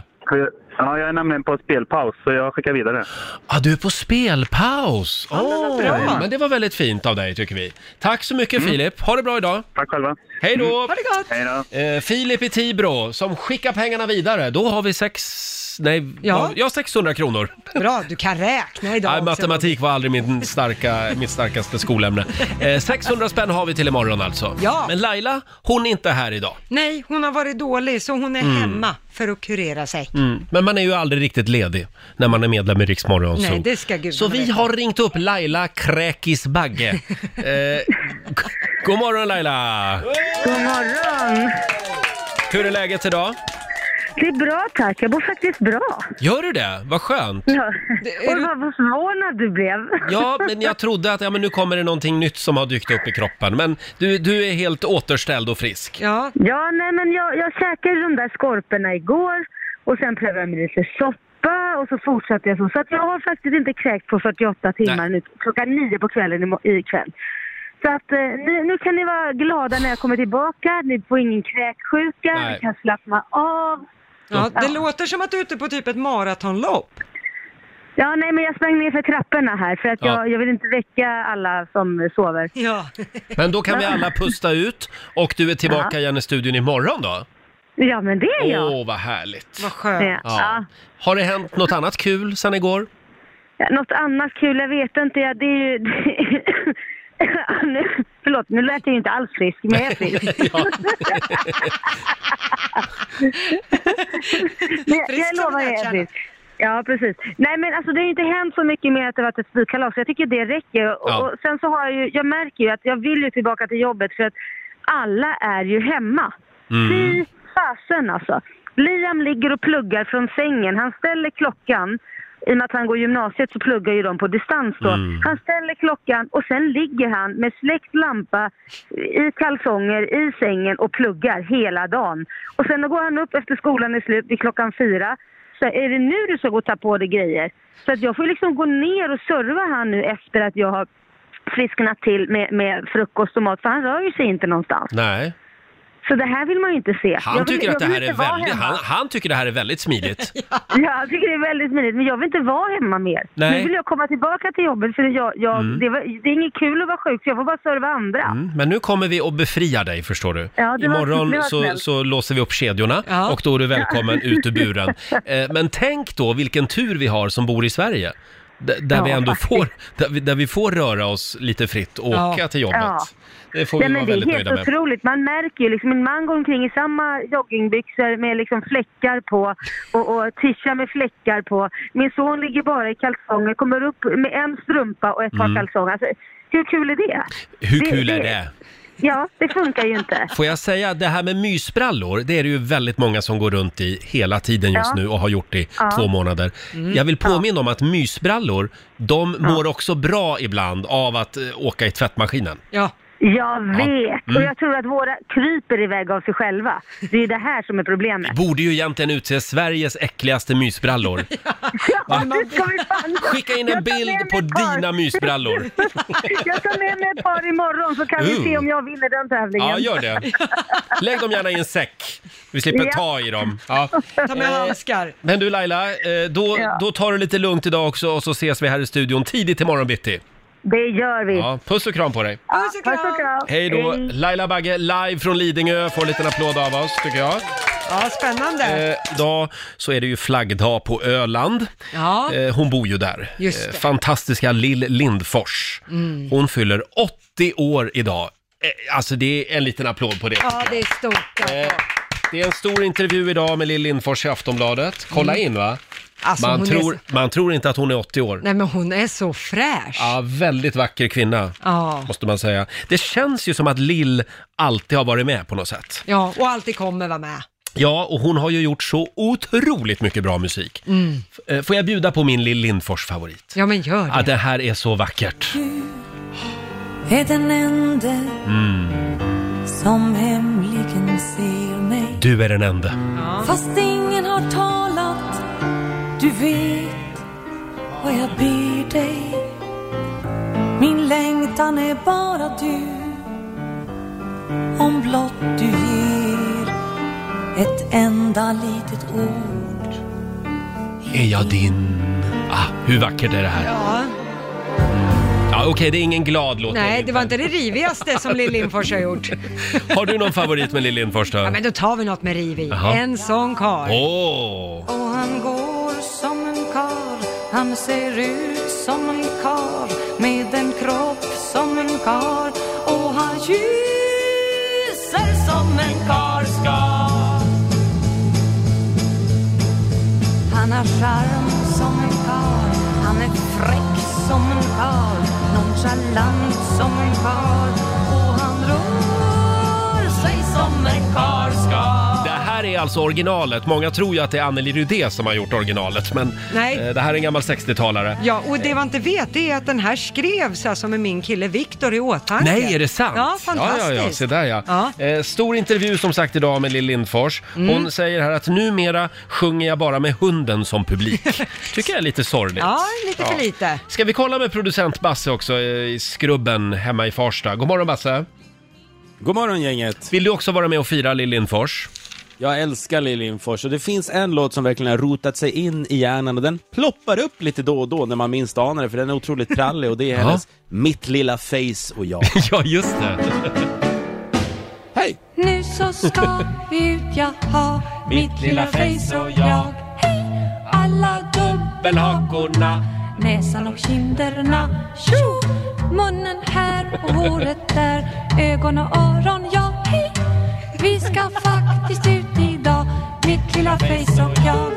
S18: Ja, jag är nämligen på spelpaus så jag skickar vidare.
S1: Ja, du är på spelpaus. Åh,
S18: bra.
S1: men det var väldigt fint av dig tycker vi. Tack så mycket Filip. Ha det bra idag.
S18: Tack själva.
S1: Hej då.
S18: Mm. Ha det gott. Hej
S1: Eh, Filip i Tibro som skickar pengarna vidare. Då har vi sex... sex, nej, ja.
S2: Ja.
S1: ja 600 kronor.
S2: Bra, du kan räkna idag
S1: Nej,
S2: också.
S1: matematik var aldrig min starka, mitt starkaste skolämne. Eh, 600 spänn har vi till imorgon alltså.
S2: Ja.
S1: Men Laila, hon är inte här idag.
S2: Nej, hon har varit dålig så hon är
S1: Mm.
S2: hemma för att kurera sig.
S1: Mm. Men man är ju aldrig riktigt ledig när man är medlem i Rix Morgon
S2: Nej,
S1: Zoo.
S2: det ska gudarna
S1: Så vi
S2: veta.
S1: har ringt upp Laila Kräkis Bagge. eh, g- god morgon Laila!
S14: God morgon!
S1: Hur är läget idag?
S14: Det är bra tack, jag mår faktiskt bra.
S1: Gör du det? Vad skönt!
S14: Ja. Och vad vad förvånad du blev.
S1: Ja, men jag trodde att ja, men nu kommer det någonting nytt som har dykt upp i kroppen. Men du, du är helt återställd och frisk.
S2: Ja,
S14: ja nej men jag, jag käkade de där skorporna igår och sen prövade jag med lite soppa och så fortsatte jag så. Så att jag har faktiskt inte kräkt på 48 timmar nu, klockan nio på kvällen i mo- ikväll. Så att eh, nu, nu kan ni vara glada när jag kommer tillbaka, ni får ingen kräksjuka,
S2: Nej.
S14: ni kan slappna av.
S2: Ja, det låter som att du är ute på typ ett maratonlopp.
S14: Ja, nej men jag sprang ner för trapporna här för att
S1: Ja.
S14: jag, jag vill inte väcka alla som sover.
S2: Ja.
S1: Men då kan vi alla pusta ut och du är tillbaka
S14: Ja.
S1: igen i studion imorgon då?
S14: Ja, men det är jag.
S1: Åh, vad härligt!
S2: Vad skönt.
S1: Ja. Har det hänt något annat kul sen igår?
S14: Ja, Något annat kul, jag vet inte. Ja, det är ju... nu, förlåt, nu lät jag ju inte alls frisk, men jag är frisk. men jag,
S4: Frisk
S14: jag
S4: som
S14: lovar,
S4: en
S14: jag är
S4: nötkärna.
S14: frisk. Ja, precis. Nej, men alltså det har ju inte hänt så mycket mer att det varit ett spikalas. Jag tycker det räcker. Och,
S4: Ja.
S14: och sen så har jag ju, jag märker ju att jag vill ju tillbaka till jobbet för att alla är ju hemma.
S4: Mm.
S14: Fy fasen alltså. Liam ligger och pluggar från sängen. Han ställer klockan. I och med att han går gymnasiet så pluggar ju de på distans då.
S4: Mm.
S14: Han ställer klockan och sen ligger han med släckt lampa i kalsonger i sängen och pluggar hela dagen. Och sen då går han upp efter skolan är slut vid klockan fyra. Så är det nu du ska gå och ta på dig grejer? Så att jag får liksom gå ner och serva han nu efter att jag har frisknat till med, med frukost och mat. För han rör ju sig inte någonstans.
S1: Nej.
S14: Så det här vill man ju inte se.
S1: Han
S14: jag vill,
S1: tycker
S14: jag
S1: att det
S14: vill
S1: här är
S14: inte vara
S1: väldigt,
S14: hemma.
S1: han, han tycker det här är väldigt smidigt.
S14: Ja, jag tycker det är väldigt smidigt, men jag vill inte vara hemma mer.
S1: Nej.
S14: Nu vill jag komma tillbaka till jobbet, för jag, jag,
S1: Mm.
S14: det, var, det är inget kul att vara sjuk, så jag får bara serva andra.
S1: Mm, Men nu kommer vi och befria dig förstår du.
S14: Ja, det var-
S1: Imorgon
S14: det var
S1: så,
S14: snällt.
S1: så låser vi upp kedjorna och då är du välkommen ut ur buren. Eh, Men tänk då vilken tur vi har som bor i Sverige. D- där
S14: Ja,
S1: vi ändå
S14: faktiskt.
S1: får, där vi, där vi får röra oss lite fritt och åka till jobbet.
S14: Ja.
S1: Det får vi
S14: Nej, men
S1: vara
S14: det är
S1: väldigt
S14: helt
S1: nöjda med.
S14: otroligt. Man märker ju liksom, min man går omkring i samma joggingbyxor med liksom fläckar på och, och tisha med fläckar på. Min son ligger bara i kalsonger, kommer upp med en strumpa och ett par
S1: Mm.
S14: kalsonger. Alltså, hur kul är det?
S1: Hur kul är det?
S14: Ja, det funkar ju inte.
S1: Får jag säga, det här med mysbrallor, det är det ju väldigt många som går runt i hela tiden just
S14: Ja.
S1: nu och har gjort i
S14: Ja.
S1: två månader.
S14: Mm.
S1: Jag vill påminna om att mysbrallor, de mår också bra ibland av att eh, åka i tvättmaskinen.
S2: Ja.
S14: Jag vet!
S1: Mm.
S14: Och jag tror att våra kryper iväg av sig själva. Det är det här som är problemet.
S1: Borde ju egentligen utse Sveriges äckligaste mysbrallor.
S14: Ja, det ska vi fan-
S1: Skicka in en
S14: Jag tar
S1: bild
S14: med mig
S1: på
S14: ett par.
S1: dina mysbrallor.
S14: Jag tar med mig ett par imorgon så kan
S1: Ooh.
S14: vi se om jag vinner den tävlingen.
S1: Uh. Ja, gör det. Lägg dem gärna i en säck. Vi slipper
S14: Ja.
S1: ta i dem. Ja.
S2: Ta
S14: Eh.
S2: med handskar.
S1: Men du Laila, eh, då,
S14: Ja.
S1: då tar du lite lugnt idag också och så ses vi här i studion tidigt imorgon bitti.
S14: Det gör vi.
S1: Ja, puss och kram på dig.
S14: Ja, Puss och kram!
S1: Hej då! Laila Bagge, live från Lidingö, får en liten applåd av oss tycker jag.
S2: Ja, spännande.
S1: Eh, idag så är det ju flaggdag på Öland.
S2: Ja.
S1: Eh, hon bor ju där. Eh,
S2: Just det.
S1: fantastiska Lill Lindfors.
S2: Mm.
S1: Hon fyller 80 år idag. Eh, alltså det är en liten applåd på det.
S2: Ja, det är stort.
S1: Det är en stor intervju idag med Lill Lindfors i Aftonbladet. Kolla
S2: Mm.
S1: in va?
S2: Alltså,
S1: man,
S2: hon
S1: tror,
S2: är
S1: man tror inte att hon är 80 år.
S2: Nej, men hon är så fräsch.
S1: Ja, väldigt vacker kvinna.
S2: Ja.
S1: Måste man säga. Det känns ju som att Lill alltid har varit med på något sätt.
S2: Ja, och alltid kommer vara med.
S1: Ja, och hon har ju gjort så otroligt mycket bra musik.
S2: Mm.
S1: F- eh, Får jag bjuda på min Lill Lindfors-favorit?
S2: Ja, men gör det.
S1: Ja, det här är så vackert.
S4: Är den enda
S1: Mm.
S4: som hemligen ser mig
S1: Du är den enda.
S4: Fast ingen har talat Du vet vad jag ber dig Min längtan är bara du Om blott du ger ett enda litet ord
S1: Är jag din? Ah, hur vackert är det här? Mm.
S2: Ja.
S1: Ja, okej, det är ingen glad låt.
S2: Nej, det var inte det rivigaste som Lill Lindfors har gjort.
S1: Har du någon favorit med Lill Lindfors då?
S2: Ja, men då tar vi något med riv i.
S1: Jaha.
S2: En sån karl.
S1: Åh!
S4: Och han går Han ser ut som en kar med en kropp som en kar och han kysser som en kar ska. Han har charm som en kar, han är fräck som en kar, nonchalant som en kar och han rör sig som en kar ska.
S1: Det här är alltså originalet. Många tror ju att det är Anneli Rudé som har gjort originalet, men
S2: Nej.
S1: eh, det här är en gammal 60-talare.
S2: Ja, och det man inte vet det är att den här skrevs alltså med min kille Viktor i åtanke.
S1: Nej, är det sant?
S2: Ja, fantastiskt.
S1: Ja, ja, ja. Se där ja. Eh, stor intervju som sagt idag med Lill Lindfors. Hon
S2: Mm.
S1: säger här att numera sjunger jag bara med hunden som publik. Tycker jag är lite sorgligt.
S2: Ja, lite för lite.
S1: Ska vi kolla med producent Basse också eh, i Skrubben hemma i Farsta. God morgon Basse!
S8: God morgon gänget!
S1: Vill du också vara med och fira Lill Lindfors?
S8: Jag älskar Lill Lindfors och det finns en låt som verkligen har rotat sig in i hjärnan och den ploppar upp lite då och då när man minst anar det för den är otroligt prallig och det är hennes Mitt lilla face och jag.
S1: ja, just det.
S4: Nu så ska ut jag ha mitt lilla face och jag Hej alla
S1: dubbelhakorna
S4: Näsan och kinderna Tjo! Munnen här och håret där Ögon och öron, ja hej Vi ska faktiskt ut idag Mitt lilla face och jag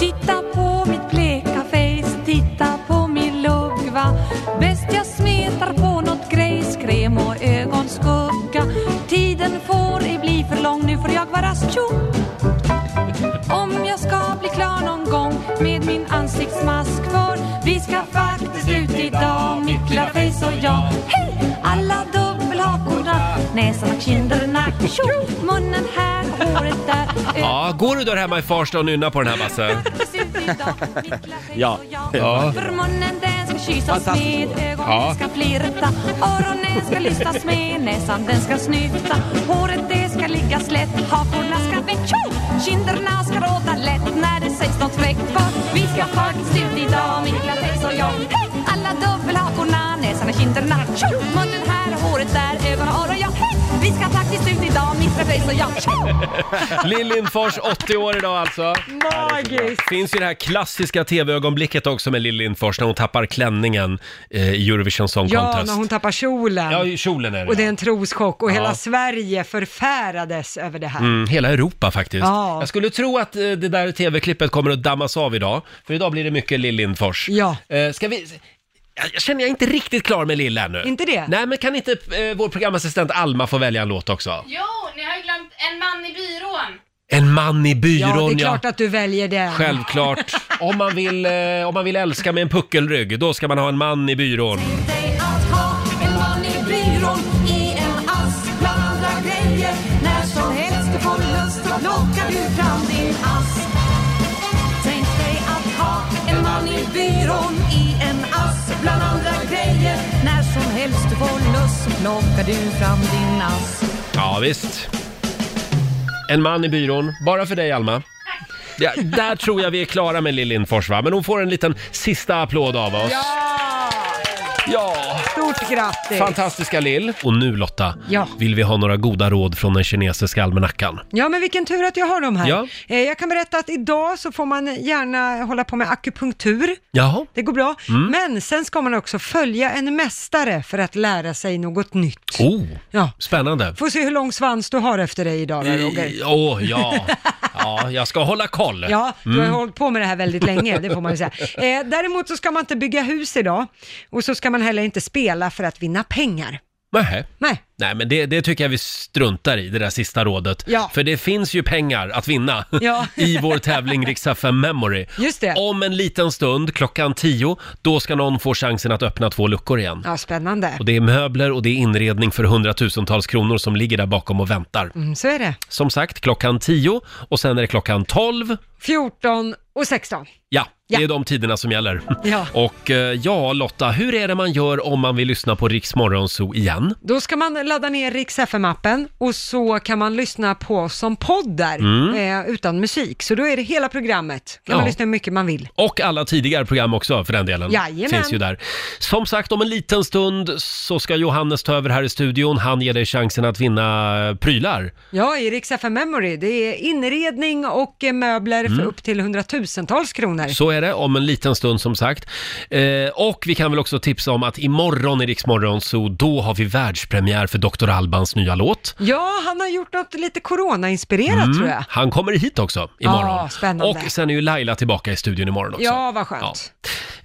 S4: Titta på mitt bleka face Titta på min lugva Bäst jag smetar på något grejs Kräm och ögonskugga Tiden får ej bli för lång Nu får jag vara tjo om jag ska bli klar någon gång med min ansiktsmask för vi ska faktiskt ut idag, mitt lilla face och jag. Hej! Alla dubbelhakorna, näsan och kinderna, tjo! Munnen här, håret där,
S1: Ja, går du där hemma i Farsta och nynnar på den här Basse?
S8: ja.
S1: ja.
S4: För munnen den ska kyssas med, ögonen
S1: Ja.
S4: ska flirta, öronen ska lystas med, näsan den ska snyfta, håret det ska ligga slätt, hakorna ska väck, tjo! Kinderna ska råda lätt när det sägs något fräckt för vi ska faktiskt ut idag, mitt lilla face och jag. Hej! Alla dubbelhakorna, näsan och kinderna, tjo! Munnen här, håret där, ögon och öron, ja! Hej! Vi ska faktiskt ut idag, mitt lilla face och jag, tjo!
S1: Lill Lindfors, 80 år idag alltså. Magiskt! Finns ju det här klassiska tv-ögonblicket också med Lill Lindfors när hon tappar klänningen eh, i Eurovision Song
S2: Ja,
S1: Contest.
S2: när hon tappar kjolen.
S1: Ja, i kjolen är det.
S2: Och det är en troschock och
S1: Ja.
S2: hela Sverige förfärades över det här.
S1: Mm, hela Europa faktiskt.
S2: Ja.
S1: Jag skulle tro att eh, det där tv-klippet kommer att dammas av idag, för idag blir det mycket Lill Lindfors.
S2: Ja.
S1: Eh, ska vi... Jag- Jag känner jag är inte riktigt klar med Lill ännu.
S2: Inte det?
S1: Nej, men kan inte eh, vår programassistent Alma få välja en låt också?
S7: Jo, ni har ju glömt en man i byrån.
S1: En man i byrån,
S2: ja, det är klart att du väljer det.
S1: Självklart. Om man, vill, eh, om man vill älska med en puckelrygg, då ska man ha en man i byrån.
S4: dig att ha en man i byrån i en ask bland andra grejer. När som helst du får lust då plockar du fram din ask. Tänk dig att ha en man i byrån i en ask bland andra grejer. När som helst du får lust så plockar du fram din ask.
S1: Ja, visst. En man i byrån, bara för dig Alma. Ja, där tror jag vi är klara med Lill Lindfors va? Men hon får en liten sista applåd av oss. Ja!
S2: Stort grattis!
S1: Fantastiska Lill! Och nu Lotta,
S2: Ja.
S1: vill vi ha några goda råd från den kinesiska almanackan.
S2: Ja, men vilken tur att jag har dem här.
S1: Ja.
S2: Eh, Jag kan berätta att idag så får man gärna hålla på med akupunktur.
S1: Jaha?
S2: Det går bra.
S1: Mm.
S2: Men sen ska man också följa en mästare för att lära sig något nytt.
S1: Oh,
S2: ja.
S1: spännande!
S2: Får se hur lång svans du har efter dig idag då, Roger.
S1: I- Åh, ja. ja, jag ska hålla koll.
S2: Ja, du har
S1: Mm.
S2: hållit på med det här väldigt länge, det får man ju säga. Eh, däremot så ska man inte bygga hus idag och så ska man heller inte spela för att vinna pengar.
S1: Nähä.
S2: Nej.
S1: Nej, men det, det tycker jag vi struntar i, det där sista rådet.
S2: Ja.
S1: För det finns ju pengar att vinna
S2: Ja.
S1: i vår tävling Rix FM Memory.
S2: Just det.
S1: Om en liten stund, klockan 10, då ska någon få chansen att öppna två luckor igen.
S2: Ja, spännande.
S1: Och det är möbler och det är inredning för hundratusentals kronor som ligger där bakom och väntar.
S2: Mm, så är det.
S1: Som sagt, klockan 10 och sen är det klockan 12.
S2: 14 och 16.
S1: Ja, det
S2: Ja.
S1: är de tiderna som gäller.
S2: Ja.
S1: Och eh, ja, Lotta, hur är det man gör om man vill lyssna på Rix Morgonzoo igen?
S2: Då ska man ladda ner Rix FM-appen och så kan man lyssna på oss som podd där,
S1: Mm.
S2: eh, utan musik. Så då är det hela programmet. kan
S1: Ja.
S2: man lyssna hur mycket man vill.
S1: Och alla tidigare program också för den delen.
S2: Jajamän.
S1: Finns ju där. Som sagt, om en liten stund så ska Johannes ta över här i studion. Han ger dig chansen att vinna eh, prylar.
S2: Ja, i Rix FM Memory, det är inredning och eh, möbler
S1: Mm.
S2: för upp till hundratusentals kronor.
S1: Så är är det, om en liten stund som sagt. Eh, och vi kan väl också tipsa om att imorgon i Rix Morgon så då har vi världspremiär för Dr. Albans nya låt.
S2: Ja, han har gjort något lite corona-inspirerat
S1: Mm.
S2: tror jag.
S1: Han kommer hit också imorgon.
S2: Ja, Ah, spännande.
S1: Och sen är ju Laila tillbaka i studion imorgon också.
S2: Ja, vad skönt.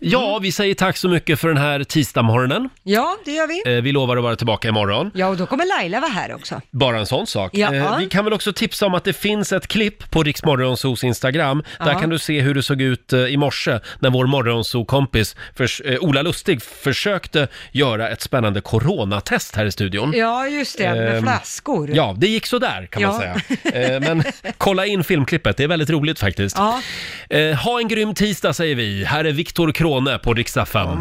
S1: Ja, vi säger tack så mycket för den här tisdagsmorgonen.
S2: Ja, det gör vi.
S1: Eh, Vi lovar att vara tillbaka imorgon.
S2: Ja, och då kommer Laila vara här också.
S1: Bara en sån sak.
S2: Ja.
S1: Eh, Vi kan väl också tipsa om att det finns ett klipp på Rix Morgonzoos Instagram. Där
S2: Ja.
S1: kan du se hur det såg ut eh, i morse när vår morgonzoo-kompis förs- eh, Ola Lustig försökte göra ett spännande coronatest här i studion.
S2: Ja, just det, med
S1: Ehm,
S2: flaskor.
S1: Ja, det gick så där kan man
S2: Ja.
S1: säga. Eh, Men kolla in filmklippet, det är väldigt roligt faktiskt.
S2: Ja.
S1: Eh, Ha en grym tisdag säger vi. Här är Viktor Krone på Rix FM.